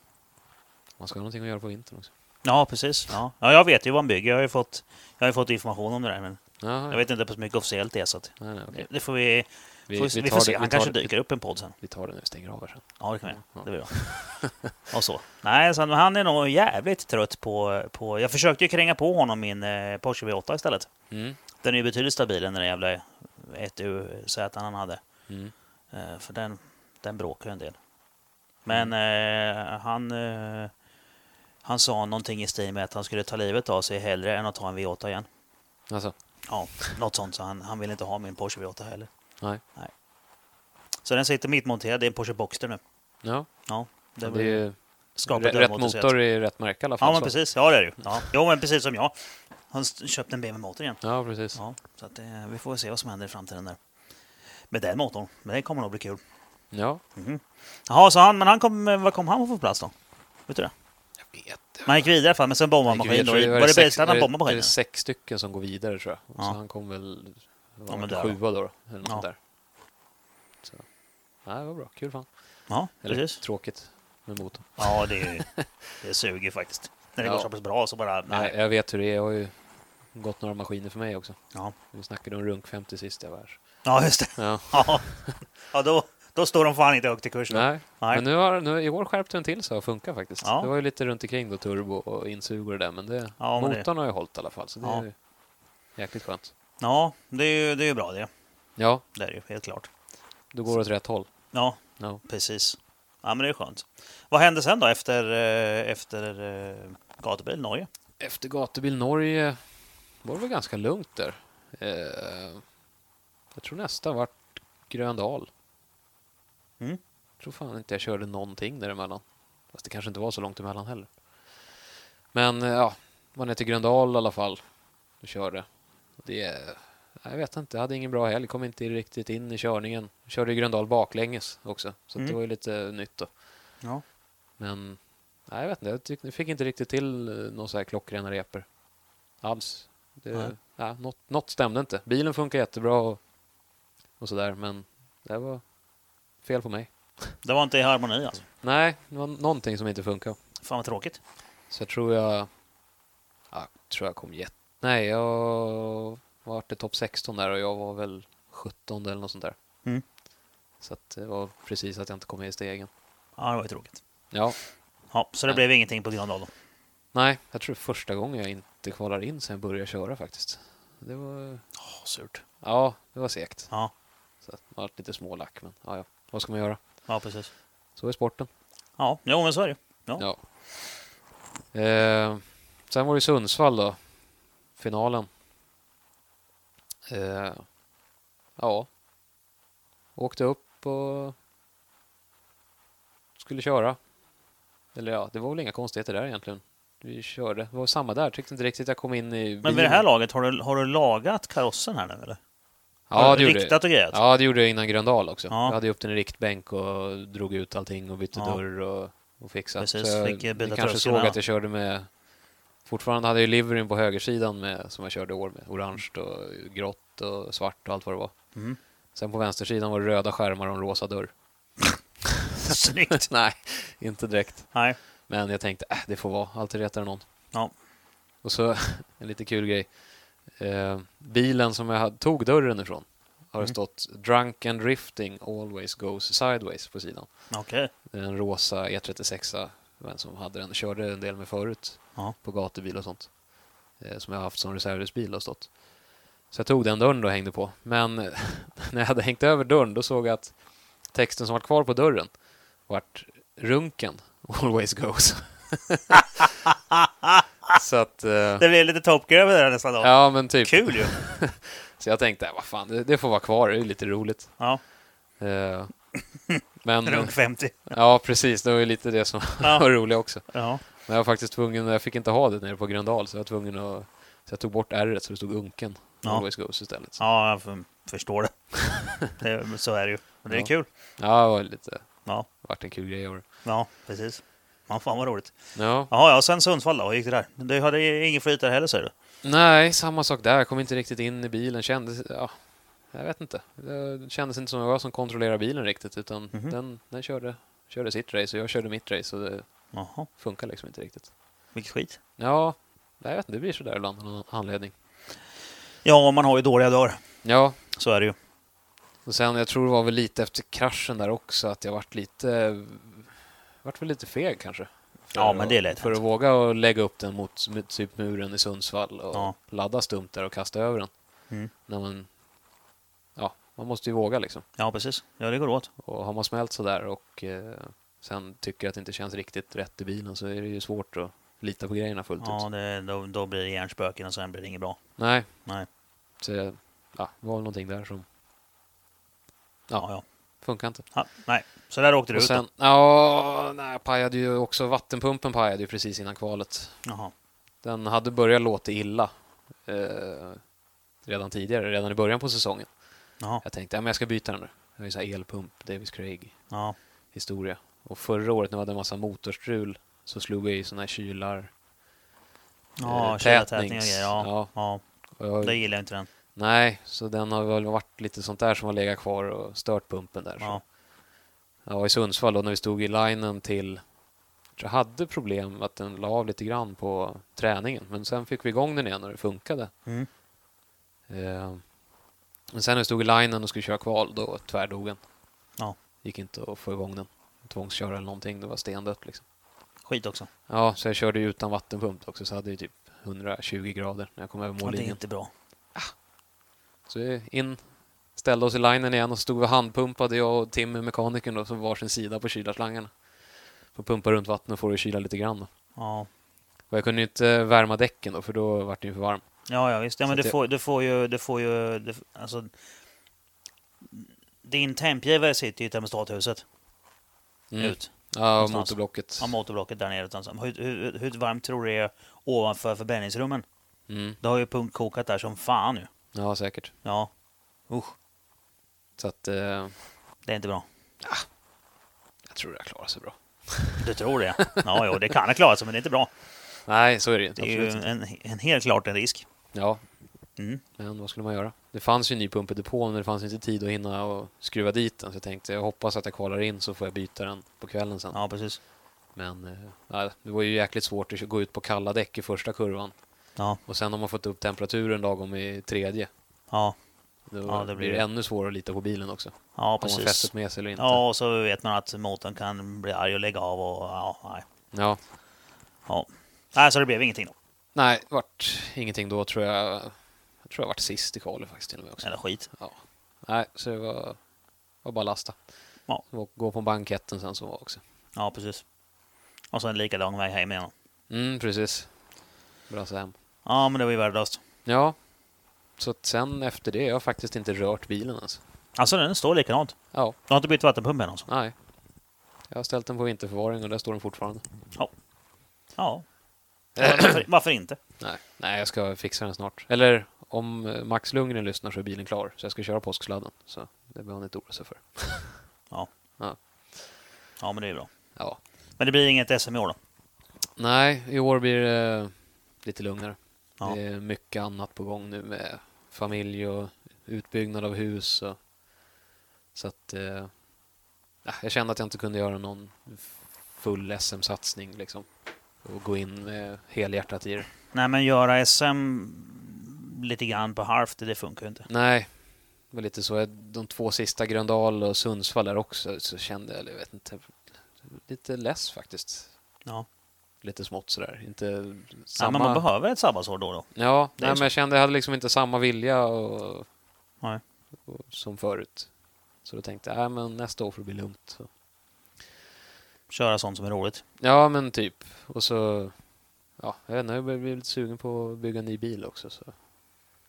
Man ska ha någonting att göra på vintern också. Ja, precis. Ja, ja jag vet ju vad han bygger. Jag har ju fått, jag har ju fått information om det där, men Jaha, jag vet inte hur mycket officiellt det är. Så att Nej, nej, okej. det får vi, Vi, får, vi vi, tar får se. det- Han vi tar kanske det- dyker upp i en podd sen. Vi tar det när vi stänger av här sen. Ja, det kan vi göra. Ja. Det blir bra. Och så. Nej, så, han- men han är nog jävligt trött på, på... Jag försökte ju kränga på honom min eh, Porsche V8 istället. Mm. Den är ju betydligt stabilare än den där jävla 1UZ han hade. Mm. Eh, För den, den bråkar ju en del. Men Mm. eh, han, eh, han sa någonting i stil med att han skulle ta livet av sig hellre än att ta en V8 igen. Alltså, Ja, något sånt. Så han, han vill inte ha min Porsche V8 heller. nej. Så den sitter mittmonterad. Det är en Porsche Boxster nu. Ja, Ja, det det, var, är ju- skapade Rätt dörrmotorcykel. motor i rätt märke i alla fall. Ja, men så. precis. Ja, det är det ju. Ja. Jo, men precis som jag. Han s- köpte en BMW-motor igen. Ja, precis. Ja, så att det, vi får se vad som händer i framtiden där. Med den motorn. Men det kommer nog bli kul. Mhm. Ja. Jaha, så han, men han kom, eh, vad kom han på för plats då? Vet du det? Jag vet. Man gick vidare i alla fall, men sen bombade han Gud, jag maskinen. tror Var, var det sex- Bergstrand han det- bombade Det är maskinen? sex stycken som går vidare tror jag. Och Ja. Så han kom väl Ja, ja, men men där då. sjua då. då eller något Ja. sånt där. Så. Nej, det var bra. Kul fan. Ja, Eller precis. tråkigt med motorn. Ja, det, är, ju- det suger faktiskt. När det Ja. går så pass bra så bara... Nej. Nej. Jag vet hur det är. Jag har ju gått några maskiner för mig också. Ja. Vi snackade om Runk 50 sist jag var här. ja, just det. Ja. Ja, ja då, då står de fan inte högt i kurs. då. Nej. Nej. Men nu har, nu, i år skärpte den till så och funkar faktiskt. Ja. Det var ju lite runt omkring då, turbo och insug och det där. Men, det, Ja, men det- motorn har ju hållit i alla fall. Så det Ja. är ju jäkligt skönt. Ja, det är ju det är ju bra det. Ja, Det är det ju, helt klart. du går åt rätt håll. Ja, Ja. precis. Ja, men det är skönt. Vad hände sen då efter, eh, efter eh, gatubil Norge? Efter gatubil Norge var det väl ganska lugnt där. Eh, jag tror nästa vart Gröndal. Mm. Jag tror fan inte jag körde någonting däremellan. Fast det kanske inte var så långt emellan heller. Men eh, ja, var ner till Gröndal i alla fall och körde. Det, nej, jag vet inte, jag hade ingen bra helg, kom inte riktigt in i körningen. Körde i Gröndal baklänges också, så att Mm. det var ju lite nytt då. Ja. Men nej, jag vet inte, jag tyck, jag fick inte riktigt till eh, några så här klockrena repor. Alls. Det, Nej. nej. något, något stämde inte. Bilen funkar jättebra och, och sådär, men det var fel på mig. Det var inte i harmoni alltså. Nej, det var någonting som inte funkar. Fan vad tråkigt. Så jag tror jag... ja, Jag tror jag kom jätte... Nej, jag var det topp 16 där och jag var väl 17 eller något sånt där. Mm. Så att det var precis att jag inte kom med i stegen. Ja, det var ju tråkigt. Ja, Ja, så det Ja. blev ingenting på Gröndal då. Nej, jag tror det är första gången jag inte kvalar in sen jag började köra faktiskt. Det var, Åh, surt. ja, det var segt. Ja, Så att man var lite smålack, men ja, ja. vad ska man göra? ja precis. Så är sporten. Ja, jo, men så är det ju. Ja. Ja. Eh, sen var det Sundsvall då, finalen. Eh, ja, åkte upp och skulle köra. Eller ja, det var väl inga konstigheter där egentligen. Vi körde. Det var samma där, tyckte inte riktigt jag kom in i Men vid det här laget, har du, har du lagat karossen här nu eller? Ja, Har det du gjorde jag. Riktat och grejat? Ja, det gjorde jag innan Gröndal också. Ja. Jag hade ju upp den i riktbänk och drog ut allting och bytte Ja. dörr och, och fixat. Precis, Så jag, fick, eh, byta ni kanske tröskeln, såg ja. att jag körde med... Fortfarande hade jag ju liveryn på högersidan med, som jag körde i år med. Orange och grått och svart och allt vad det var. Mm. Sen på vänstersidan var det röda skärmar och en rosa dörr. Snyggt! Nej, inte direkt. Nej. Men jag tänkte, äh, det får vara. Alltid retar det någon. Ja. Och så en lite kul grej. Eh, bilen som jag hade- tog dörren ifrån har det Mm. stått Drunk and drifting always goes sideways på sidan. Okej. Det är En rosa E36, vem som hade den, körde en del med förut Ja. på gatubil och sånt. Eh, som jag har haft som reservhusbil och stått. Så jag tog den dörren då och hängde på. Men eh, när jag hade hängt över dörren då såg jag att texten som var kvar på dörren vart runken always goes. så att... Eh, Det blev lite Top Gear över det här nästan då. ja men typ. Kul ju! Så jag tänkte, äh, vad fan, det, det får vara kvar, det är ju lite roligt. Ja, Eh, men, runt 50. ja precis, det var ju lite det som Ja. var roligt också. Ja. Men jag var faktiskt tvungen, jag fick inte ha det nere på Gröndal, så jag var tvungen att... Så jag tog bort r så det stod Unken. Ja. Always goes istället. Så. ja, jag f- förstår det. det. men Så är det ju. Men det är Ja. kul. Ja, det var lite... Ja. det Vart en kul grej av det. Ja, precis. Man fan vad roligt. Ja. Jaha, ja, sen Sundsvall då. Hur gick det där? Du hade ju ingen flyt där heller säger du? Nej, samma sak där. Jag kom inte riktigt in i bilen. Kändes... Ja, jag vet inte. Det kändes inte som jag var som kontrollerade bilen riktigt, utan Mhm. den, den körde, körde sitt race och jag körde mitt race och det Jaha, funkar liksom inte riktigt. vilket skit. Ja, jag vet inte. Det blir sådär ibland av någon anledning. Ja, man har ju dåliga dagar. Ja, Så är det ju. Och sen, jag tror det var väl lite efter kraschen där också, att jag vart lite... Vart väl lite feg kanske. För Ja, men det är att- lätt För att hänt. våga och lägga upp den mot mot typ muren i Sundsvall och Ja. ladda stumt där och kasta över den. Mm. När man... Ja, man måste ju våga liksom. Ja, precis. Ja, det går åt. Och har man smält sådär och eh, sen tycker att det inte känns riktigt rätt i bilen så är det ju svårt att lita på grejerna fullt Ja, ut. det, då, då blir det hjärnspöken och sen blir det inget bra. Nej, Nej. så jag- ja, det var väl någonting där som... Ja, ja. Funkar inte. Ha, nej, så där åkte du Och ut. då. sen, ja, nej, pajade ju också, vattenpumpen pajade ju precis innan kvalet. Jaha. Den hade börjat låta illa eh, redan tidigare, redan i början på säsongen. Jaha. Jag tänkte, ja, men jag ska byta den nu. Det är ju så här elpump, Davis Craig Ja. historia. Och förra året när jag hade en massa motorstrul så slog jag i sådana här kylar. Ja, Eh, kylartätning och tätnings- grejer. Ja. ja. Ja. Och jag, Det gillar jag inte den. Nej, så den har väl varit lite sånt där som har legat kvar och stört pumpen där. Ja. Så. Jag var i Sundsvall då när vi stod i linen till... Jag hade problem att den la av lite grann på träningen, men sen fick vi igång den igen och det funkade. Mm. Eh, men sen när vi stod i linen och skulle köra kval, då tvärdog den. Ja. Gick inte att få igång den. Tvångsköra eller någonting, det var stendött liksom. Skit också. Ja, så jag körde ju utan vattenpump också, så hade jag typ 120 grader när jag kom över Ja, det är mållinjen. inte bra. Så vi in, ställde oss i linen igen och stod och handpumpade, jag och Tim, mekanikern, då, som varsin sida på kylarslangarna. Får pumpa runt vattnet och få det att kyla lite grann. Då. Ja, Och jag kunde ju inte eh, värma däcken då, för då var det ju för varm. ja, ja visst. Ja, men Så du att jag- får, du får ju... Du får ju du, alltså, din tempgivare sitter ju i termostathuset. Mm. Ut. Ja, och Någonstans. motorblocket. Av motorblocket där nere. Utan, så- hur, hur, hur varmt tror du det är ovanför förbränningsrummen? Mm. Det har ju punktkokat där som fan nu. Ja, säkert. Ja. Usch, Så att eh, det är inte bra. jag tror det här klarar sig bra. Du tror det? Ja, jo, det kan ha klarat sig, men det är inte bra. Nej, så är det ju inte. Det är ju absolut inte. en, en helt klart en risk. Ja, Mm. men vad skulle man göra? Det fanns ju en ny pump i depån, men det fanns inte tid att hinna och skruva dit den. Så jag tänkte, jag hoppas att jag kvalar in så får jag byta den på kvällen sen. Ja, precis. Men eh, nej, det var ju jäkligt svårt att gå ut på kalla däck i första kurvan. Ja, Och sen har man fått upp temperaturen lagom i tredje. ja, Då Ja, det blir blir det det. ännu svårare att lita på bilen också. ja Om man har precis. fästet med sig eller inte. Ja, och så vet man att motorn kan bli arg och lägga av och ja, nej. Ja. Ja. Nej, så det blev ingenting då. Nej, vart ingenting då tror jag. Jag tror jag vart sist i kvalet faktiskt till och med också. Eller skit. Ja. Nej, så det var, var bara lasta. Ja. Och gå på banketten sen som var också. Ja, precis. Och så en lika lång väg hem igen. Mm, precis. Brassa hem. Ja, men det var ju värdelöst. Ja. Så att sen efter det, jag har faktiskt inte rört bilen ens. Alltså, den står likadant. Ja, Du har inte bytt vattenpump än alltså? nej. Jag har ställt den på vinterförvaring och där står den fortfarande. Ja. Varför, varför inte? Nej, nej jag ska fixa den snart. Eller om eh, Max Lundgren lyssnar så är bilen klar. Så jag ska köra påsksladden. Så det behöver han inte oroa sig för. Ja, men det är bra. Ja. Men det blir inget SM i år då? Nej, i år blir det eh, lite lugnare. Ja. Det är mycket annat på gång nu med familj och utbyggnad av hus. Och... Så att... Eh... ja, Jag kände att jag inte kunde göra någon full SM-satsning liksom. Och gå in med helhjärtat i det. Nej, men göra SM lite grann på halvt, det funkar ju inte. Nej, det var lite så. De två sista, Gröndal och Sundsvall där också, så kände jag, eller jag vet inte, lite less faktiskt. Ja. Lite smått sådär. Inte Ja, samma... men man behöver ett sabbatsår då och då. Ja, Det är nej, så. men jag kände jag hade liksom inte samma vilja och, Nej. och, som förut. Så då tänkte jag, nej men nästa år får det bli lugnt. Så. Köra sånt som är roligt. Ja, men typ. Och så, ja, jag vet inte, jag börjar bli lite sugen på att bygga en ny bil också. Så.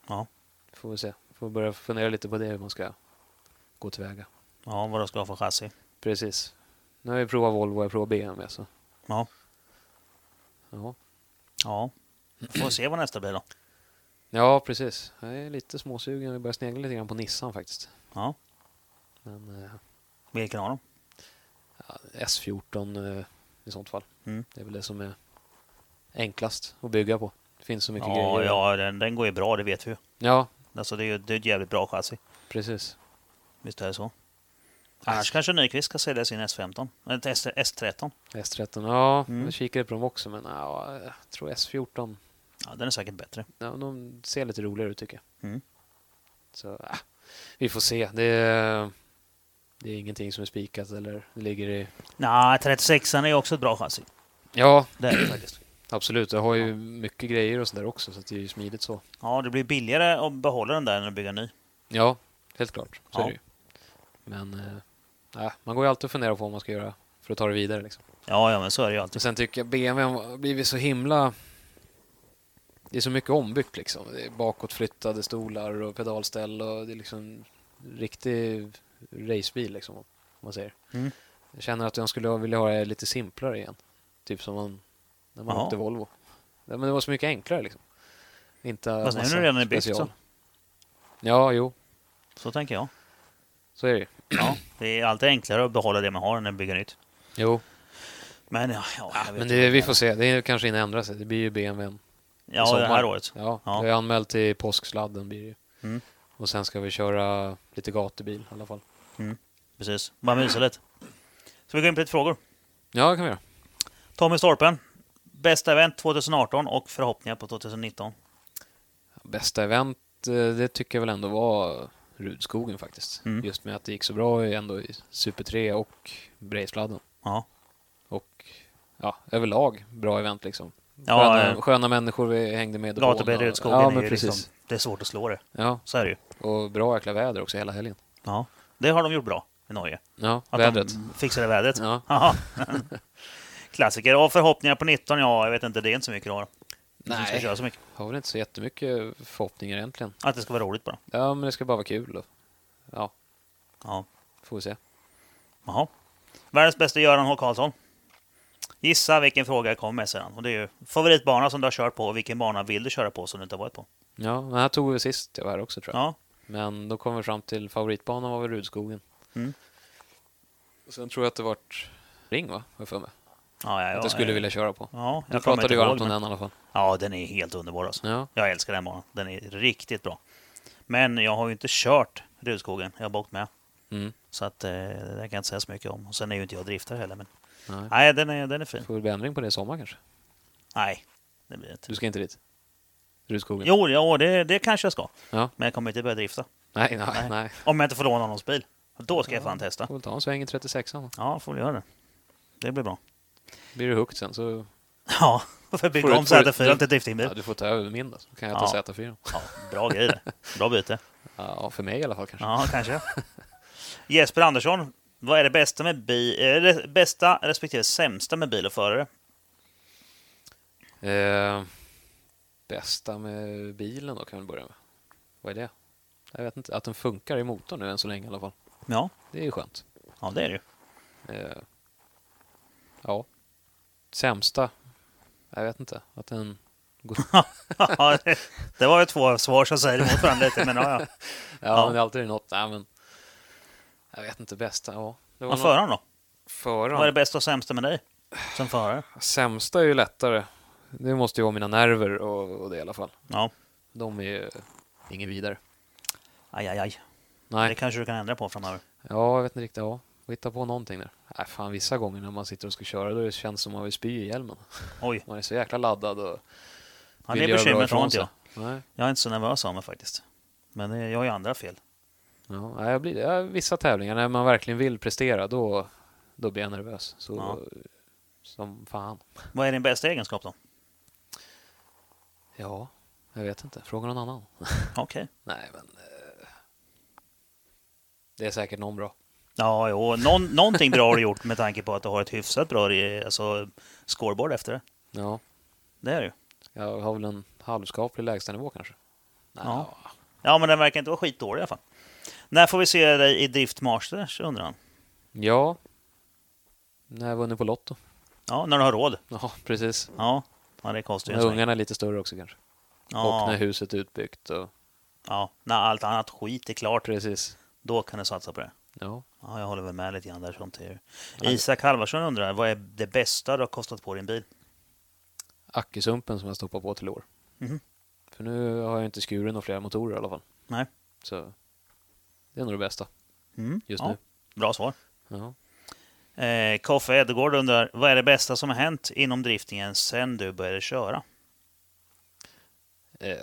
Ja. Får vi se. Får börja fundera lite på det, hur man ska gå tillväga. Ja, vad du ska ha för chassi. Precis. Nu har jag provat Volvo och jag provar BMW. Så. Ja. Ja. Ja. Får se vad nästa blir då. ja, precis. Jag är lite småsugen. Jag börjar snegla lite grann på Nissan faktiskt. Ja. Men eh, Vilken av dem? ja, S14 eh, i sånt fall. Mm. Det är väl det som är enklast att bygga på. Det finns så mycket Ja, grejer. ja den, den går ju bra, det vet vi ju. ja, Alltså, det är ju det är ett jävligt bra chassi. precis. Visst är det så. Annars kanske Nyqvist ska sälja sin S15. Eller S- S13. S13, ja, Mm. jag kikade på dem också men ja, jag tror S14, Ja, den är säkert bättre. ja, de ser lite roligare ut tycker jag. Mm. Så, ah, vi får se. Det är, det är ingenting som är spikat eller det ligger i... Nej, 36an är också ett bra chassi. Ja, Det är det faktiskt. Absolut, jag har ju mycket grejer och sådär också så att det är ju smidigt så. Ja, det blir billigare att behålla den där än att bygga en ny. Ja, helt klart. Så Ja. är det ju. Men eh, nej, man går ju alltid och funderar på vad man ska göra för att ta det vidare. Liksom. Ja, ja, men så är det ju Men alltid. sen tycker jag BMW har blivit så himla... Det är så mycket ombyggt liksom. Det är bakåtflyttade stolar och pedalställ och det är liksom riktig racebil liksom. Om man säger. Mm. Jag känner att jag skulle vilja ha det lite simplare igen. Typ som man, när man Jaha. åkte Volvo. Ja, men det var så mycket enklare liksom. Inte Fast nu är massa det redan byggt, special. så. Ja, jo. Så tänker jag. Så är det ju. Ja, det är alltid enklare att behålla det man har än att bygga nytt. Jo, Men ja, ja, Ah, jag vet men inte. det, vi får se. Det är kanske hinner ändra sig. Det blir ju BMW. Ja, sommar. det här året. Ja, Ja. jag är anmält till påsksladden blir det ju. Mm. Och sen ska vi köra lite gatubil i alla fall. Precis. Bara mysa lite. Så vi går in på lite frågor. Ja, det kan vi göra. Tommy Storpen. Bästa event 2018 och förhoppningar på 2019. Bästa event, eh, det tycker jag väl ändå var Rudskogen faktiskt. Mm. Just med att det gick så bra i- ändå i Super 3 och Brejsladden. Ja. Och ja, överlag bra event liksom. Ja, sköna, eh, sköna människor vi hängde med. i depån Gatubil i och- Rudskogen Ja, är men ju precis. liksom... Det är svårt att slå det. Ja, Så är det ju. och bra jäkla väder också hela helgen. Ja. Det har de gjort bra i Norge. Ja, Att vädret. de fixade vädret. Ja. Jaha. Klassiker. Och förhoppningar på 19? Ja, jag vet inte. Det är inte så mycket du har. Du ska Nej. köra så mycket. Har väl inte så jättemycket förhoppningar egentligen. Att det ska vara roligt bara. Ja, men det ska bara vara kul. Och, ja, Ja. får vi se. Jaha. Världens bästa Göran H. Karlsson. Gissa vilken fråga jag kom med sedan. Och det är ju favoritbana som du har kört på och vilken bana vill du köra på som du inte har varit på? Ja, den här tog vi sist jag var här också tror jag. Ja, Men då kom vi fram till favoritbanan var väl Rudskogen. Mm. Och sen tror jag att det vart Ring va, har jag för mig. ja, ja, ja att jag skulle ja. vilja köra på. Ja, Du jag kommer pratade ju inte ihåg, varmt om men- den i alla fall. Ja, den är helt underbar alltså. Ja, Jag älskar den banan. Den är riktigt bra. Men jag har ju inte kört Rudskogen. Jag har bara åkt med. mm. Så att, eh, det kan jag inte säga så mycket om. Och sen är ju inte jag driftare heller. Men... Nej. Nej, den är, den är fin. Får vi bli ändring på det i sommar kanske? Nej, det blir det inte. Du ska inte dit? Rudskogen? Jo, ja, det, det kanske jag ska. Ja. Men jag kommer inte börja drifta. Nej, nej, Nej. nej. Om jag inte får låna någons bil. Då ska jag fan testa. Får väl ta en sväng i 36an. Ja, får väl göra det. Det blir bra. Blir det högt sen så Ja, för Får bygga du- om får du- Z4 till ja, driftingbil. du får ta över min då. Så kan jag ta Ja. Z4. Ja, bra grej det. Bra byte. Ja, för mig i alla fall kanske. Ja, kanske. Jesper Andersson, vad är det bästa med bi- eller bästa respektive sämsta med bil och förare? Eh, bästa med bilen då kan vi börja med. Vad är det? Jag vet inte. Att den funkar i motorn nu än så länge i alla fall. Ja, Det är ju skönt. ja det är det ju. Eh, ja. Sämsta? Jag vet inte. Att den... Går... ja, Ja, det- det var ju två svar som säger emot varandra lite, men ja, ja. men det är alltid något. Nej, men... Jag vet inte. Bästa? Ja. Det Och någon- föraren då? Vad är det Föraren? bästa och sämsta med dig som förare? Sämsta är ju lättare. Det måste ju vara mina nerver och, och det i alla fall. Ja, De är ju inget vidare. aj, aj, aj. Det Nej, kanske du kan ändra på framöver. ja, jag vet inte riktigt. Ja, Får hitta på någonting där. Nej, fan vissa gånger när man sitter och ska köra då känns det som att man vill spy i hjälmen. Oj, Man är så jäkla laddad och ja, vill det göra bra bekymret ifrån har inte jag. sig. Nej, Jag är inte så nervös av mig faktiskt. Men eh, jag har ju andra fel. ja, nej, jag blir det. Ja, vissa tävlingar när man verkligen vill prestera då, då blir jag nervös. Så, Ja. Som fan. Vad är din bästa egenskap då? Ja, jag vet inte. Fråga någon annan. Okej. nej, men... eh, Det är säkert någon bra. Ja, jo. Någon, någonting bra har du gjort med tanke på att du har ett hyfsat bra eh, alltså, scoreboard efter det. Ja. Det är det ju. Jag har väl en halvskaplig lägstanivå kanske. Nej, Ja. Ja, men den verkar inte vara skitdålig i alla fall. När får vi se dig i Drift Masters, undrar han. ja. När jag vunnit på Lotto. Ja, när du har råd. Ja, precis. Ja, ja det kostar ju en När sväng. ungarna är lite större också kanske. Ja, Och när huset är utbyggt. Och... ja, när allt annat skit är klart, Precis. då kan du satsa på det. Ja. Ja, jag håller väl med lite grann där. Sånt är ju. Isak Halvarsson undrar, vad är det bästa du har kostat på din bil? Ackesumpen som jag stoppar på till år. Mhm. För nu har jag inte skurit några fler motorer i alla fall. Nej. Så det är nog det bästa Mm, just ja, nu. Bra svar. Ja. Eh, Koffe Edegård undrar, vad är det bästa som har hänt inom driftingen sen du började köra? Eh,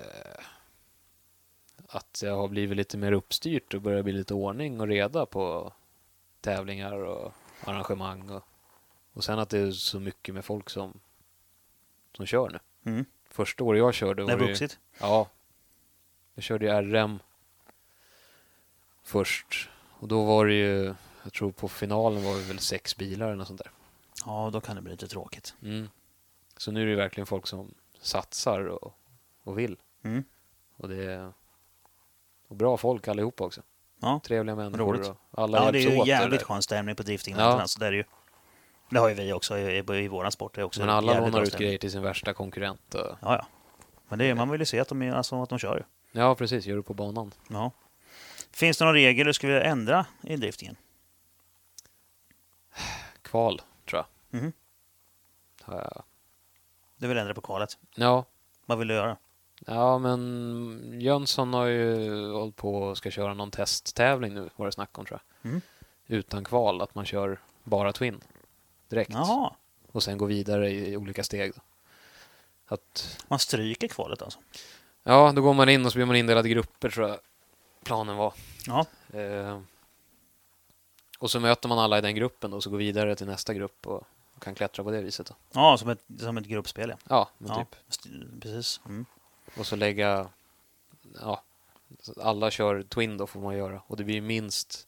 att jag har blivit lite mer uppstyrt och börjar bli lite ordning och reda på tävlingar och arrangemang. Och, och sen att det är så mycket med folk som, som kör nu. Mm. Första året jag körde Det är var det ju- vuxit. Ja. Jag körde ju RM först. Och då var det ju, jag tror på finalen var det väl sex bilar eller något sånt där. Ja, då kan det bli lite tråkigt. Mm. Så nu är det ju verkligen folk som satsar och, och vill. Mm. Och det är och bra folk allihopa också. Ja. Trevliga människor. Roligt. och Alla Ja, det är hjälps ju åt. jävligt eller? skön stämning på drifting. Ja. Ja. Så det, är det ju, det har ju vi också i, i, i våran sport. Det är också Men alla jävligt lånar bra ut stämning. grejer till sin värsta konkurrent. och- Ja, ja. Men det är, man vill ju se att de, är- alltså, att de kör. ju. Ja, precis. Gör det på banan. Ja. Finns det någon regel du skulle vilja ändra i driftingen? Kval, tror jag. Mhm. Ja. Du vill ändra på kvalet. Ja, Vad vill du göra? Ja, men Jönsson har ju hållit på och ska köra någon testtävling nu, var det snack om tror jag. Mm. Utan kval, att man kör bara Twin direkt. Jaha, Och sen går vidare i, i olika steg. Då. Att, man stryker kvalet alltså? ja, då går man in och så blir man indelad i grupper tror jag planen var. Ja, Eh, och så möter man alla i den gruppen då, och så går vidare till nästa grupp och, och kan klättra på det viset. Då. ja som, ett, som ett gruppspel ja. Ja, men ja. typ. st- Precis. Mm. Och så lägga... Ja, så att alla kör Twin då får man göra. Och det blir minst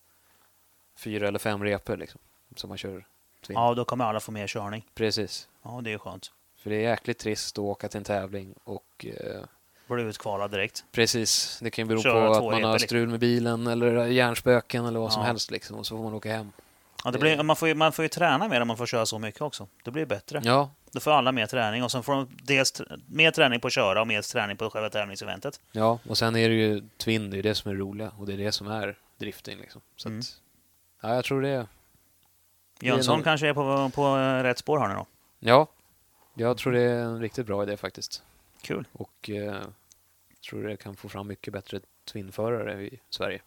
fyra eller fem repor liksom. Som man kör Twin. Ja, då kommer alla få mer körning. Precis. Ja, det är ju skönt. För det är jäkligt trist att åka till en tävling och... Eh, Blir utkvalad direkt. precis, det kan ju bero Köra på två att man repor, har liksom. strul med bilen eller hjärnspöken eller vad som Ja. helst liksom. Och så får man åka hem. Ja, det Det- blir, man, får ju, man får ju träna mer om man får köra så mycket också. Det blir bättre. Ja, Då får alla mer träning och sen får de dels tr- mer träning på att köra och mer träning på själva tävlingseventet. ja. Och sen är det ju Twin, det är ju det som är roliga. Och det är det som är drifting liksom. Så Mm. att... Ja, jag tror det. är- är Jönsson nog- kanske är på, på eh, rätt spår här nu då. Ja, jag tror det är en riktigt bra idé faktiskt. Kul. Och eh, tror det kan få fram mycket bättre twinförare i Sverige.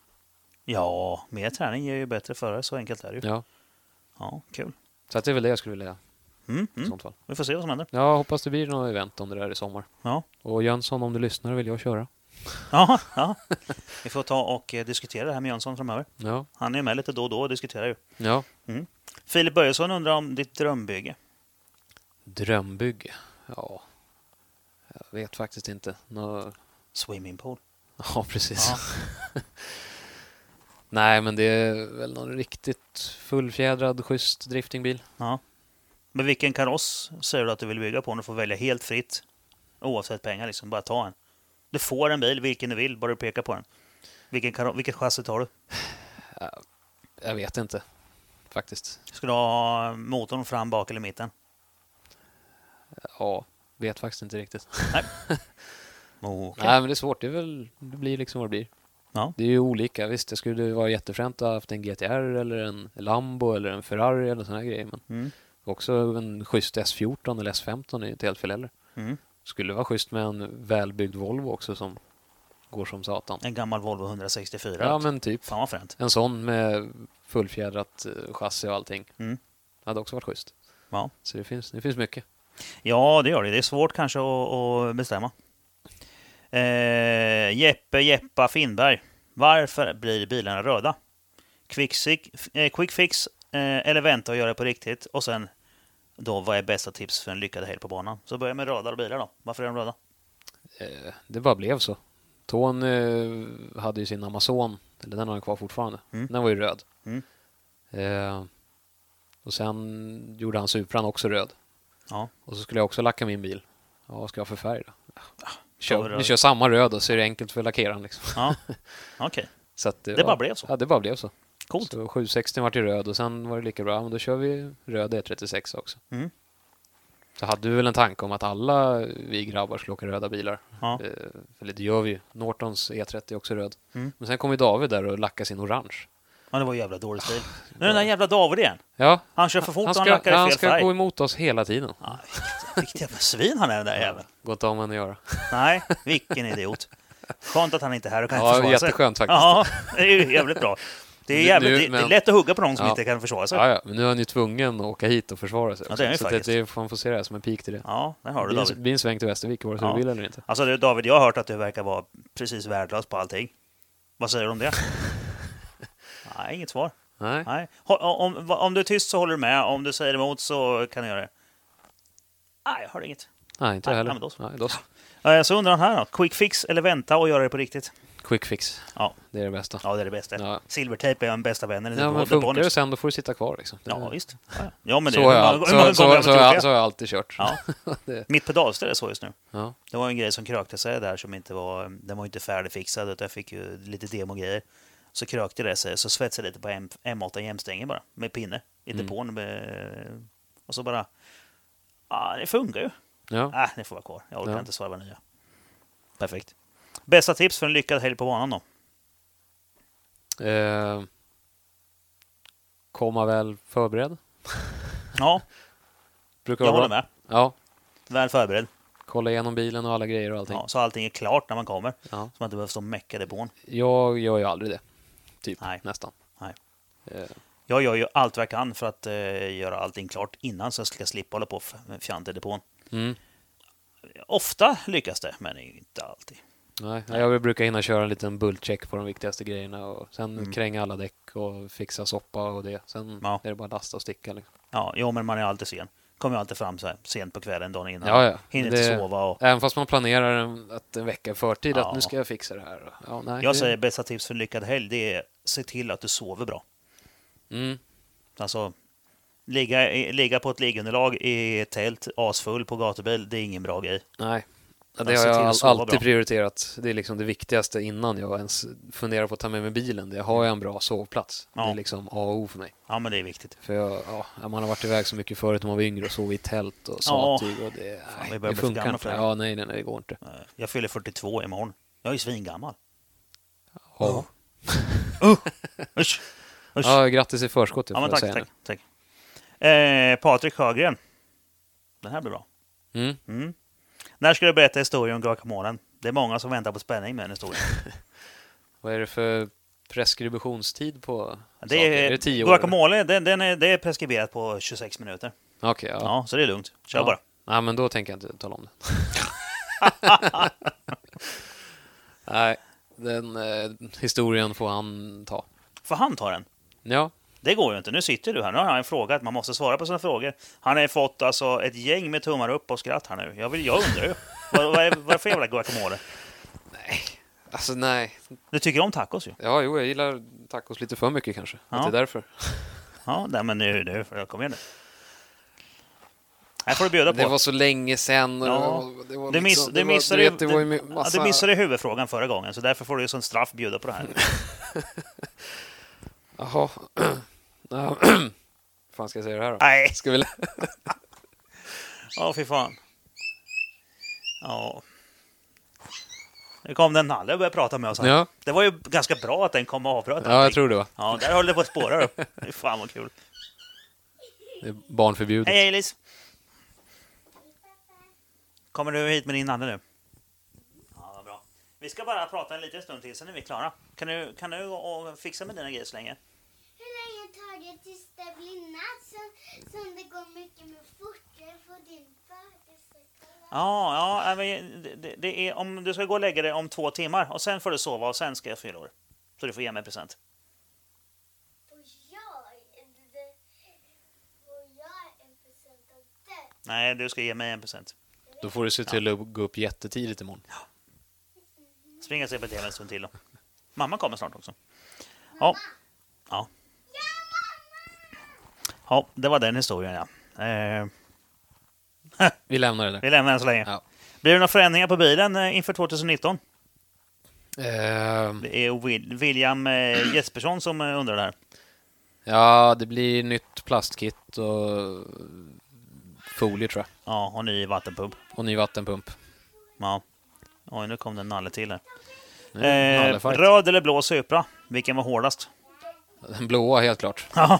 Ja, mer träning ger ju bättre förare, så enkelt är det ju. Ja. Ja, kul. Så att det är väl det jag skulle vilja Mm, i mm. sånt fall. Vi får se vad som händer. Jag hoppas det blir något event om det där i sommar. Ja. Och Jönsson, om du lyssnar vill jag köra. Ja, ja. Vi får ta och eh, diskutera det här med Jönsson framöver. Ja. Han är ju med lite då och då och diskuterar ju. ja. Filip Börjesson undrar om ditt drömbygge. Drömbygge. Ja. Jag vet faktiskt inte. Nå... Swimmingpool. Ja, precis. Ja. Nej, men det är väl någon riktigt fullfjädrad, schysst driftingbil. ja. Men vilken kaross säger du att du vill bygga på om du får välja helt fritt? Oavsett pengar liksom, bara ta en. Du får en bil, vilken du vill, bara du pekar på den. Vilken, karo- vilket chassi tar du? Jag vet inte, faktiskt. Ska du ha motorn fram, bak eller mitten? Ja, vet faktiskt inte riktigt. Okay. Nej, men det är svårt. Det, är väl, det blir liksom vad det blir. Ja. Det är ju olika. Visst, det skulle ju vara jättefränt att ha haft en GTR eller en Lambo eller en Ferrari eller såna här grejer. Men Mm. också en schysst S14 eller S15 är ju inte helt fel heller. Mm. Skulle vara schysst med en välbyggd Volvo också som går som satan. En gammal Volvo 164. Ja, men typ. Fan vad fränt. En sån med fullfjädrat eh, chassi och allting. Mm. Hade också varit schysst. Ja. Så det finns, det finns mycket. Ja, det gör det. Det är svårt kanske att, att bestämma. Eh, Jeppe Jeppa Finnberg. Varför blir bilarna röda? Quick, sick- eh, quick fix eh, eller vänta och göra det på riktigt? Och sen då, vad är bästa tips för en lyckad helg på banan? Så börja med röda bilar då. Varför är de röda? Eh, det bara blev så. Tån eh, hade ju sin Amazon, eller den har han kvar fortfarande. Mm. Den var ju röd. Mm. Eh, och sen gjorde han Supran också röd. Ja. Ah, Och så skulle jag också lacka min bil. Ja, vad ska jag ha för färg då? Ja, ta Kör, röd. vi kör samma röd och så är det enkelt för lackeraren. Liksom. ja. Okej, Så att, det bara blev så. Ja, det bara blev så. Coolt. Så 760 var ju röd och sen var det lika bra. Ja, Men då kör vi röd E36 också. Mm. Så hade du väl en tanke om att alla vi grabbar skulle åka röda bilar? Ja. Eh, Eller det gör vi ju. Nortons E30 är också röd. Mm. Men sen kom ju David där och lackade sin orange. ja, det var jävla dålig stil. Men den där jävla David igen. Ja, Han kör för fort han och han ska, lackar i han fel ska färg. gå emot oss hela tiden. Ja, vilket, vilket jävla svin han är den där jäveln. Går inte av med att göra. Nej, vilken idiot. Skönt att han inte är här och kan Ja, försvara sig. jätteskönt faktiskt. Ja, det är ju jävligt bra. Det är, Nu- jävligt, nu- det- det är men- lätt att hugga på någon som Ja. inte kan försvara sig. Ja, ja, men nu är han ju tvungen att åka hit och försvara sig. Ja, det också. är han ju så faktiskt. det, det, får- man får se det här som en pik till det. Ja, där har det du blir, en, David. blir en sväng till Västervik vare sig Ja. du vill eller inte. Alltså du, David, jag har hört att du verkar vara precis värdelös på allting. Vad säger du om det? Nej, inget svar. Nej. Nej. Hå- Om, om du är tyst så håller du med, om du säger emot så kan du göra det. Nej, jag hör inget. Nej, inte Nej, jag heller. nej, men då så. Nej, då så. Eh, Så undrar han här då, quick fix eller vänta och göra det på riktigt? Quick fix. Ja. Det är det bästa. Ja, det är det bästa. Ja. Silvertejp är en bästa vännen. Ja, men håller på funkar nu. det sen då får du sitta kvar liksom. Det- Ja, visst. Ja, ja. Ja, men det så, har jag, hur all- många- så, hur många så, så, gånger har man har gjort jag- alltså- det? så har jag alltid kört. Ja. Det- Mitt pedalställ är så just nu. Ja. Det var en grej som krökte sig där som inte var, den var ju inte färdigfixad utan jag fick ju lite demogrejer. Så krökte det sig, så svetsade jag lite på M, M8 jämstängen bara, med pinne. Lite Mm. på den. Med, och så bara... ah, det funkar ju. Ja. Nej, det får vara kvar. Jag orkar Ja. inte svarva nya. Perfekt. Bästa tips för en lyckad helg på banan då? Eh, komma väl förberedd. Ja, Brukar jag vara håller bra. med. Ja, Väl förberedd. kolla igenom bilen och alla grejer och allting. Ja, så allting är klart när man kommer. Ja. Så man inte behöver stå och mecka depån. Jag gör ju aldrig det. Typ, Nej. nästan. Nej. Eh, Jag gör ju allt vad jag kan för att eh, göra allting klart innan så jag ska slippa hålla på och f- fjanta i depån. mm. Ofta lyckas det, men inte alltid. Nej, jag brukar hinna köra en liten bultcheck på de viktigaste grejerna och sen Mm. kränga alla däck och fixa soppa och det. Sen Ja. är det bara lasta och sticka. Liksom. Ja, jo, men man är alltid sen. Kommer ju alltid fram så här sent på kvällen, dagen innan. Ja, ja. Hinner Det- inte sova och... Även fast man planerar en, att en vecka i förtid Ja. att nu ska jag fixa det här. Ja, nej, Jag det- säger bästa tips för en lyckad helg, det är se till att du sover bra. Mm. Alltså, ligga, i- ligga på ett liggunderlag i ett tält, asfull på gatubil, det är ingen bra grej. Nej, Ja, det Men har se jag till att all, sova alltid bra. prioriterat. Det är liksom det viktigaste innan jag ens funderar på att ta med mig bilen. Det har jag en bra sovplats. Ja. Det är liksom A och O för mig. Ja, men det är viktigt. För jag, ja, man har varit iväg så mycket förut när man var yngre och sov i tält och sattyg och det, nej, vi börjar det bli för funkar gamla inte. för det. Ja, nej, nej, nej, det går inte. Eh, Jag fyller 42 imorgon. Jag är ju svingammal. Ja, Usch! Usch! ja grattis i förskott, Ja, får men jag tack, säga tack, tack. Eh, Patrik Sjögren. Den här blir bra. nu. Mm. Mm. När ska du berätta historien om guacamolen? Det är många som väntar på spänning med den historien. Vad är det för preskriptionstid på Det är, saker? är det tio år? guacamole, den, den är, det är preskriberat på 26 minuter. eller? Okej, ja. Ja, så det är lugnt. Kör Ja. bara. Nej, men då tänker jag inte tala om det. Nej, den eh, historien får han ta. För han tar den. Ja, Det går ju inte. Nu sitter du här. Nu har han en fråga. att Man måste svara på sina frågor. Han har ju fått alltså, ett gäng med tummar upp och skratt här nu. Jag, vill, jag undrar ju. vad, vad, är, vad är för jävla guacamole? alltså nej. Du tycker om tacos ju. Ja, jo, jag gillar tacos lite för mycket kanske. Ja. Att det är därför. Ja, nej, men nu, nu. för- Kom igen nu. Här får du bjuda på. Det var så länge sedan. och Ja. det var Du, miss, liksom- du, det var- missade, du ju- vet, det var ju my- massa... ja, du missade ju huvudfrågan förra gången, så därför får du ju som straff bjuda på det här. Jaha. Ja. fan ska jag säga det här då? Nej! Ska vi... lä- Ja, fy fan. Ja. Nu kom den Nalle och började prata med oss här. Ja. Det var ju ganska bra att den kom och avbröt Ja, jag allting. tror det va. Ja, där höll det på att spåra upp. Fy Fan vad kul. Det är barnförbjudet. Hej Elis! Kommer du hit med din Nalle nu? Ja, vad bra. Vi ska bara prata en liten stund till, sen är vi klara. Kan du, kan du gå och fixa med dina grejer så länge? Hur länge tar det tills det blir natt som, som det går mycket med fortare på din födelsedag? Ja, ja nej, men det- det, det är, om du ska gå och lägga dig om två timmar och sen får du sova och sen ska jag fylla år. Så du får ge mig en present. Och jag är det- och jag är en procent av det. Nej, du ska ge mig en present. Då får du se till att gå upp jättetidigt imorgon. Springa och se på TV en stund till då. Mamma kommer snart också. Ja. Ja. Ja, det var den historien ja. Eh, Vi lämnar det där. vi lämnar den så länge. Ja. Blir det några förändringar på bilen eh, inför 2019? Ehm, Det är Wil- William eh, Jespersson som eh, undrar det här. Ja, det blir nytt plastkit och folie tror jag. Ja, och ny vattenpump. Och ny vattenpump. Ja. Oj, nu kom det en nalle till här. Nu är det Eh, nallefight. röd eller blå Supra? Vilken var hårdast? Den blåa helt klart. Ja.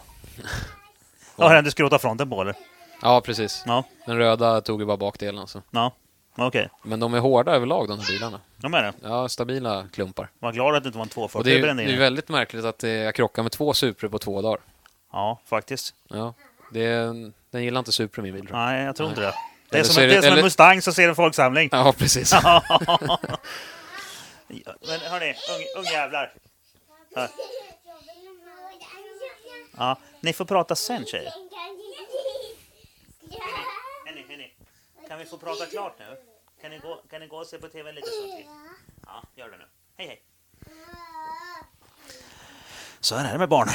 Det var den du skrotade fronten på eller? Ja, precis. Ja, Den röda tog ju bara bakdelen alltså. ja. Okej, Men de är hårda överlag de här bilarna. de är det. Ja, stabila klumpar. Var glad att det inte var en 240 Och det är, ju- brände in det är i. ju väldigt märkligt att det, jag krockar med två Supra på två dagar. Ja, faktiskt. Ja, det, är en- den gillar inte Supra min bil tror jag. Nej, jag tror inte det. Det är Eller som, så en- är det är det- som en eller- Mustang som ser en folksamling. Ja, precis. Men hörni, ung- ungjävlar. Ja. Jag vill ha en jacka. Ja, ni får prata sen tjejer. En jacka. Henny, Henny. Kan vi få prata klart nu? Kan ni gå, kan ni gå och se på TV en liten stund till? Ja, gör det nu. Hej, hej. Så här är det med barn.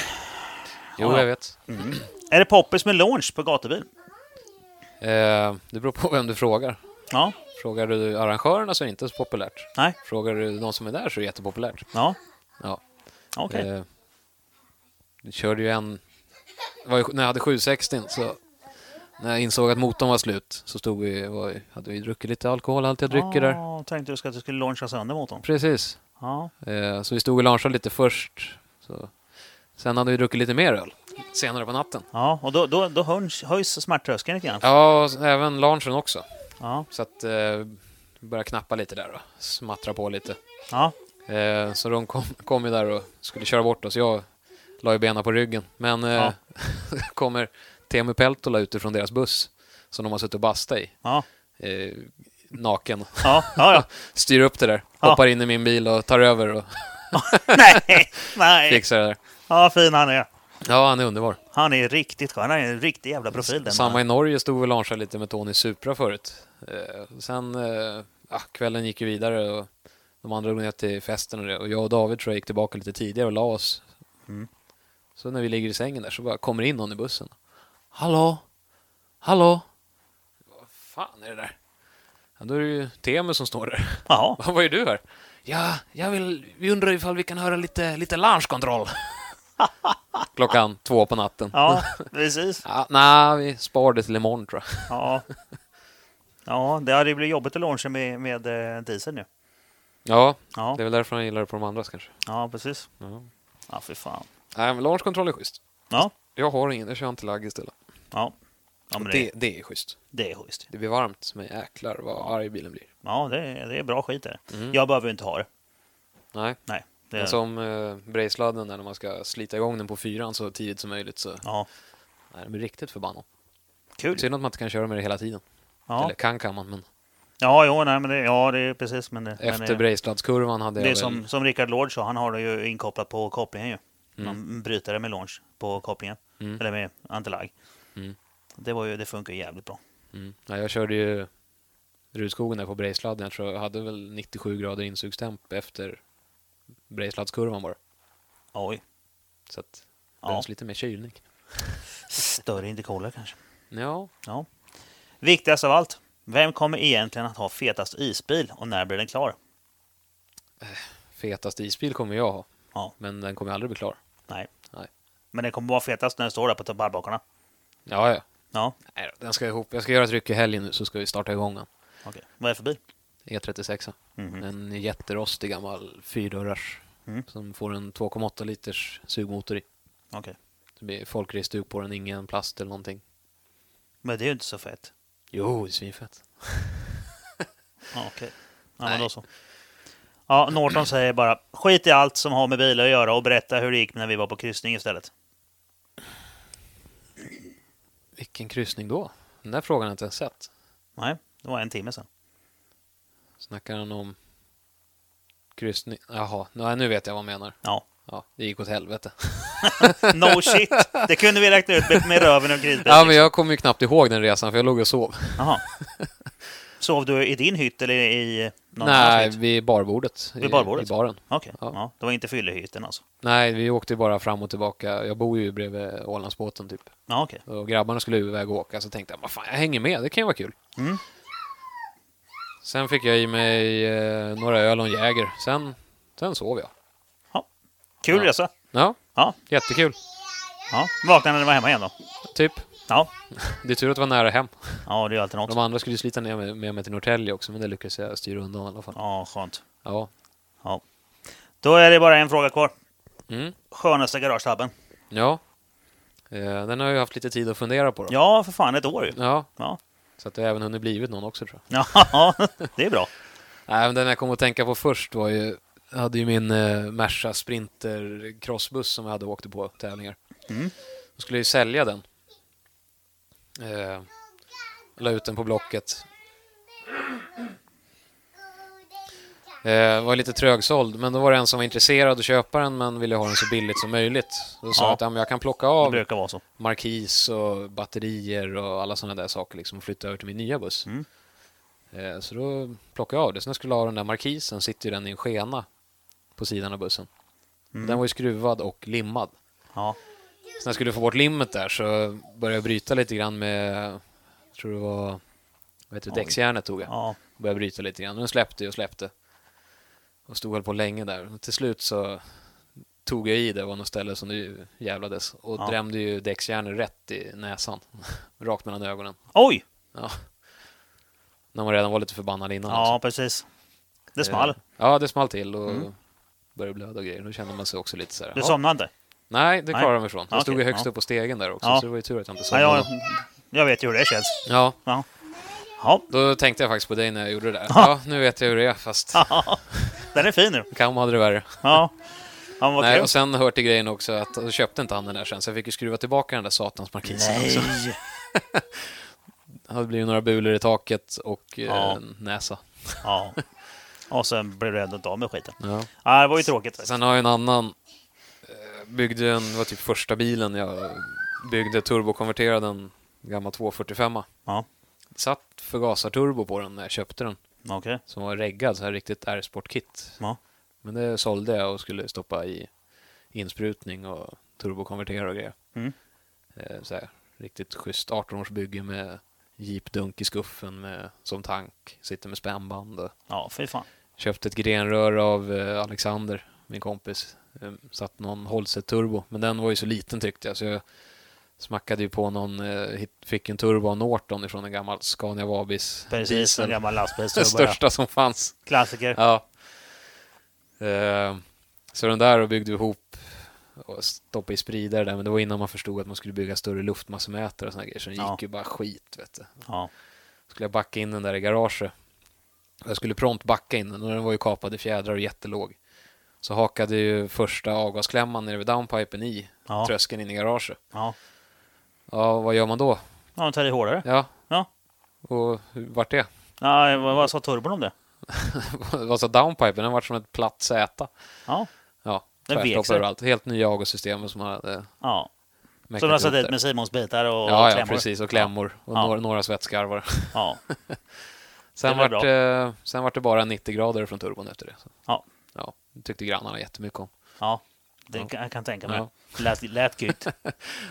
Jo, jag vet. Är det poppis med launch på gatubil? Eh, det beror på vem du frågar. Ja. Frågar du arrangörerna så är det inte så populärt. Nej. Frågar du de som är där så är det jättepopulärt. Ja. Ja. Okej. Eh, jag körde ju en... det Var ju, när jag hade 760 så... När jag insåg att motorn var slut så stod vi, var, hade vi druckit lite alkohol, allt jag dricker där. Ja, tänkte du ska att du skulle launcha sönder motorn. Precis. Ja, Eh, så vi stod och lunchade lite först. Så. Sen hade vi druckit lite mer öl senare på natten. ja och då, då, då höjs, höjs smärttröskeln lite grann. Ja, och även lunchen också. Ja, Så att eh, började knappa lite där och smattra på lite. ja, Eh, så de kom, kom ju där och skulle köra bort oss. Jag la ju benen på ryggen. Men eh, Ja. kommer Teemu Peltola utifrån deras buss som de har suttit och bastat i. ja, Eh, naken. ja, ja, ja. Styr upp det där. Ja. Hoppar in i min bil och tar över och Nej, nej. fixar det där. Ja, fin han är. Ja, han är underbar. Han är riktigt skön. Han är en riktig jävla profil. Den Samma mannen. i Norge stod vi och lite med Tony Supra förut. Eh, sen, eh, ja, kvällen gick ju vidare och de andra drog ner till festen och det. Och jag och David tror jag gick tillbaka lite tidigare och la oss. Mm. Så när vi ligger i sängen där så bara kommer in någon i bussen. Hallå? Hallå? Vad fan är det där? Ja, då är det ju Teemu som står där. Jaha, Vad är du här? Ja, jag vill, vi undrar ifall vi kan höra lite, lite lunchkontroll. Klockan två på natten. ja, precis. Ja, nej, vi spar det till imorgon tror jag. Ja. Ja, det hade ju blivit jobbigt att launcha med, med eh, diesel nu. Ja, Ja, det är väl därför han gillar det på de andras kanske. ja precis. Ja. Ja, fy fan. Nej, men launch control är schysst. Ja, Jag har ingen, jag kör inte lagg istället. ja. ja men det, det, det är schysst. det är schysst. Det blir varmt, men jäklar vad arg bilen blir. Ja, det, är- det är bra skit det. Mm. Jag behöver ju inte ha det. Nej, Nej. Det, men som eh, brejsladden där när man ska slita igång den på fyran så tidigt som möjligt så Ja, nej, den blir riktigt förbannad. kul. Synd att man inte kan köra med det hela tiden. Ja, Eller kan kan man, men ja, jo, nej, men det, ja det är precis. Men det, men efter det, brejsladdskurvan det hade är jag väl... som, som Rickard Lord sa, han har det ju inkopplat på kopplingen ju. Man bryter det med launch på kopplingen. Mm. Eller med antilag. Mm. Det, var ju, det funkar ju jävligt bra. Mm. Nej, jag körde ju Rudskogen där på brejsladden. Jag tror jag hade väl 97 grader insugstemp efter brejsladdskurvan bara. Oj. Så att det Ja. behövs lite mer kylning. Större indikoler kanske. Ja, Ja. Viktigast av allt. Vem kommer egentligen att ha fetast isbil och när blir den klar? fetast isbil kommer jag ha. Ja. Men den kommer aldrig bli klar. Nej. Nej. Men den kommer vara fetast när den står där på ballbakarna. Ja, ja. Ja, Nej då, den ska ihop. Jag ska göra ett ryck i helgen nu så ska vi starta igång den. okej. Vad är det för bil? E36. Mhm. En jätterostig gammal fyrdörrars. Mm. Som får en 2,8 liters sugmotor i. Okej. Det blir folkraceduk på den, ingen plast eller någonting. Men det är ju inte så fett. Jo, det är svinfett. Ja, okej. Ja, men Nej. då så. Ja, Norton säger bara skit i allt som har med bilar att göra och berätta hur det gick när vi var på kryssning istället. Vilken kryssning då? Den där frågan har jag inte ens sett. Nej, det var en timme sedan. Snackar han om kryssning? Jaha, nej, nu vet jag vad han menar. Ja. Ja, det gick åt helvete. No shit! Det kunde vi räkna ut med- med röven och grisbältet. Ja, men jag kommer ju knappt ihåg den resan för jag låg och sov. Jaha. Sov du i din hytt eller i någon Nej, annans hytt? vid barbordet. Vid barbordet? I baren. Okej. Ja. Ja, det var inte fyllehytten alltså? Nej, vi åkte ju bara fram och tillbaka. Jag bor ju bredvid Ålandsbåten typ. Ja, okej. Och grabbarna skulle iväg och åka så tänkte jag, vad fan, jag hänger med, det kan ju vara kul. Mm. Sen fick jag i mig eh, några öl och en Jäger. Sen, sen sov jag. Kul Ja. resa. Ja, Ja. jättekul. ja. Vaknade när du var hemma igen då? Typ. Ja. Det är tur att det var nära hem. Ja, det är ju alltid något. De andra skulle ju slita ner mig- med mig till Norrtälje också, men det lyckades jag styra undan i alla fall. Ja, skönt. Ja. Ja. Då är det bara en fråga kvar. Mm. Skönaste garagetabben? Ja. Eh, Den har jag ju haft lite tid att fundera på då. Ja, för fan, ett år ju. ja. typ. Ja. Så att det har även hunnit blivit någon också tror jag. Ja, det är bra. Nej, men den jag kom att tänka på först var ju, jag hade ju min eh, Merca Sprinter crossbuss som jag hade åkt på tävlingar. Mm. Då skulle jag ju sälja den. Eh, la ut den på Blocket. Eh, var lite trögsåld, men då var det en som var intresserad att köpa den men ville ha den så billigt som möjligt. Då sa Ja. jag att ja, men jag kan plocka Det av brukar vara så. markis och batterier och alla sådana där saker liksom och flytta över till min nya buss. Mm. Eh, Så då plockade jag av det. Sen när jag skulle ha den där markisen sitter ju den i en skena på sidan av bussen. Mm. Den var ju skruvad och limmad. Ja. Så när jag skulle få bort limmet där så började jag bryta lite grann med, jag tror det var, vad heter det, Oj. däcksjärnet tog jag. ja. Började bryta lite grann. Men Den släppte och släppte. Och stod väl på länge där. Och till slut så tog jag i det, var något ställe som det ju jävlades. Och Ja. drämde ju däcksjärnor rätt i näsan. Rakt mellan ögonen. Oj! Ja. När man redan var lite förbannad innan. Ja, precis. Det small. Eh, Ja, det small till och Mm. började blöda och grejer. Då kände man sig också lite så här. Du ja. somnade inte? Nej, det Nej. klarade jag mig ifrån. Jag Ja, stod ju okej, högst ja. upp på stegen där också, Ja. så det var ju tur att jag inte Ja, jag, somnade. jag vet ju hur det känns. Ja, Ja. Ja. då tänkte jag faktiskt på dig när jag gjorde det där. Ja, nu vet jag hur det är, fast Den är fin nu. Kam hade det värre. Ja. Ja, men vad Nej, kul. och sen hör till grejen också att då köpte inte han den där sen, så jag fick ju skruva tillbaka den där satans markisen också. Nej! Det blev ju några bulor i taket och eh, Ja. näsa. Ja. Och sen blev du ändå inte av med skiten. Ja. Ja, det var ju tråkigt. Sen har jag en annan. eh, Byggde en, det var typ första bilen jag byggde, turbokonverterade en gammal 245. Ja, Satt förgasarturbo på den när jag köpte den, okej. som var reggad, så här riktigt R-sportkit. Ja. Men det sålde jag och skulle stoppa i insprutning och turbokonvertera och grejer. Mm. Eh, Så här, riktigt schysst 18-årsbygge med jeepdunk i skuffen med, som tank, sitter med spännband. Och Ja, fy fan. köpte ett grenrör av eh, Alexander, min kompis. Eh, Satt någon Holset turbo, men den var ju så liten tyckte jag så jag smackade ju på någon, eh, hit- fick en turbo av Norton ifrån en gammal Scania Vabis Precis, en gammal Den lastbilsstubbe. största som fanns. Klassiker. Ja. Eh, så den där och byggde vi ihop och stoppade i spridare där, men det var innan man förstod att man skulle bygga större luftmassemätare och såna grejer, så den Ja. gick ju bara skit vet du. Ja. Skulle jag backa in den där i garaget. Och Jag skulle prompt backa in den och den var ju kapad i fjädrar och jättelåg. Så hakade ju första avgasklämman nere vid downpipen i Ja. tröskeln in i garaget. Ja. Ja, vad gör man då? Ja, de tar i hårdare. Ja, Ja. och hur- vart det? ja vad, vad sa turbon om det? alltså downpipen, den vart som ett platt Z. Ja. Ja, Den vek tvärstopp sig. överallt. Helt nya avgassystem som eh, man hade ja. mäckat Som de har satt ihop dit där. med Simons bitar och Ja, ja, klämmor. precis. Och klämmor och Ja. några, några svetskarvar. Ja. Sen Det var vart, det, sen vart det bara 90 grader från turbon efter det. Så, Ja. ja, det tyckte grannarna jättemycket om. ja. Det kan jag kan tänka mig. Ja. Lät, lät gött.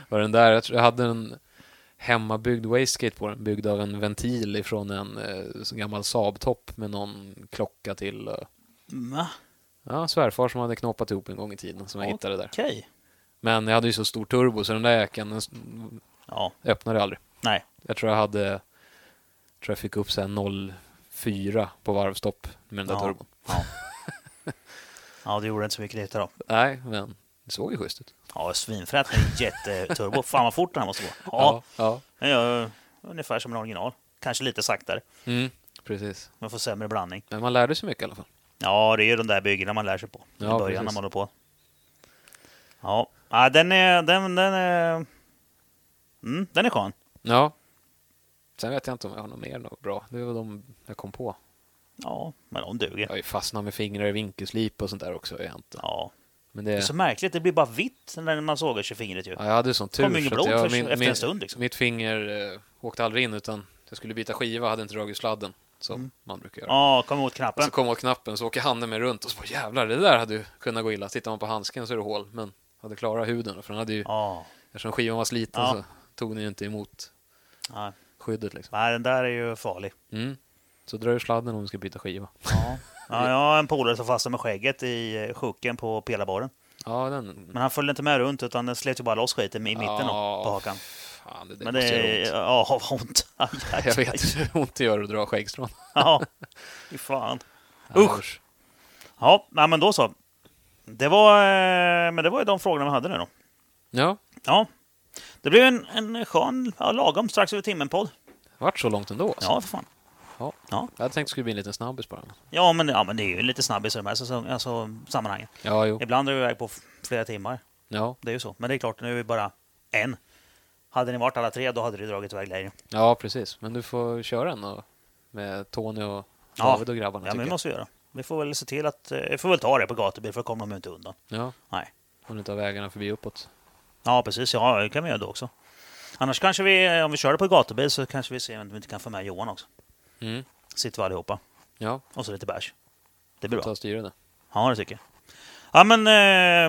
Var den där, jag, tror jag hade en hemmabyggd wastegate på den, byggd av en ventil ifrån en eh, sån gammal Saab-topp med någon klocka till. Eh, Va? ja, svärfar som hade knåpat ihop en gång i tiden som jag Ja. hittade där. Okej. Men jag hade ju så stor turbo så den där jäkeln den s- Ja. öppnade jag aldrig. Nej. Jag tror jag hade, jag tror jag fick upp så här 04 på varvstopp med den där Ja. turbon. Ja. ja, det gjorde inte så mycket nytta då. Nej, men det såg ju schysst ut. Ja, svinfrätt med jätteturbo. Fan vad fort den här måste gå. Ja, ja. den gör ungefär som en original. Kanske lite saktare, ja. Mm, precis. men får sämre blandning. Men man lärde sig mycket i alla fall. Ja, det är ju de där byggena man lär sig på. Ja, I början precis. när man håller på. Ja, ja den är... Den, den är... Mm, den är skön. Ja. Sen vet jag inte om jag har något mer något bra. Det var de jag kom på. Ja, men de Jag har duger. ju fastnat med fingrar i vinkelslip och sånt där också. har Jag inte. Ja. Men Det det, är så märkligt, det blir bara vitt när man sågar sig i fingret ju. ja, jag hade sån tur. kom ju inget för att blod jag, först efter en stund, liksom. Mitt finger eh, åkte aldrig in utan jag skulle byta skiva, hade inte dragit sladden. Som Mm. man brukar göra. Ja, kom åt Och knappen. så kom jag åt knappen så åker handen med runt och så bara jävlar, det där hade ju kunnat gå illa. Tittar man på handsken så är det hål. Men hade klarat huden. För den hade ju, Ja. Eftersom skivan var sliten Ja. så tog den ju inte emot Nej, skyddet. Liksom. Nej, den där är ju farlig. Mm. Så drar ju sladden om du ska byta skiva. Ja. Ja, jag har en polare som fastnade med skägget i eh, sjuken på pelarbaren. Ja, den... Men han följde inte med runt utan den slet ju bara loss skiten i mitten Ja, då, på hakan. Fan, det, det Men måste det göra ont. är... Ja, vad ont. Aj, aj, Jag aj. vet hur ont det gör att dra skäggstrån. Ja, fy fan. Usch. Ja, nej, men då så. Det var, eh, men det var ju de frågorna vi hade nu då. Ja, Ja. Det blev en, en skön, ja, lagom strax över timmen-podd. vart så långt ändå. Alltså. Ja, för fan. Ja. Ja. Jag hade tänkt att det skulle bli en liten snabbis bara. Ja, men, ja, men det är ju lite snabbis i de här säsong, alltså, sammanhangen. Ja, jo. Ibland är vi iväg på f- flera timmar. Ja, Det är ju så. Men det är klart, nu är vi bara en. Hade ni varit alla tre, då hade det dragit iväg längre. ja precis. Men du får köra en och, med Tony och Ja. David och grabbarna. Ja, men tycker det jag. måste vi göra. Vi får väl se till att... eh, Vi får väl ta det på gatubil, för då kommer de ju inte undan. Ja, Nej. om du tar vägarna förbi uppåt. Ja, precis. Ja, det kan vi göra då också. Annars kanske vi, eh, om vi kör det på gatubil, så kanske vi ser om vi inte kan få med Johan också. Mm. Sitter vi allihopa. Ja, Och så lite bärs. Det blir ta bra. och styra det. Ja, det tycker jag. Ja, men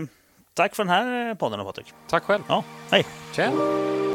eh, tack för den här eh, podden då, Patrik. Tack själv. Ja, hej. Tjena.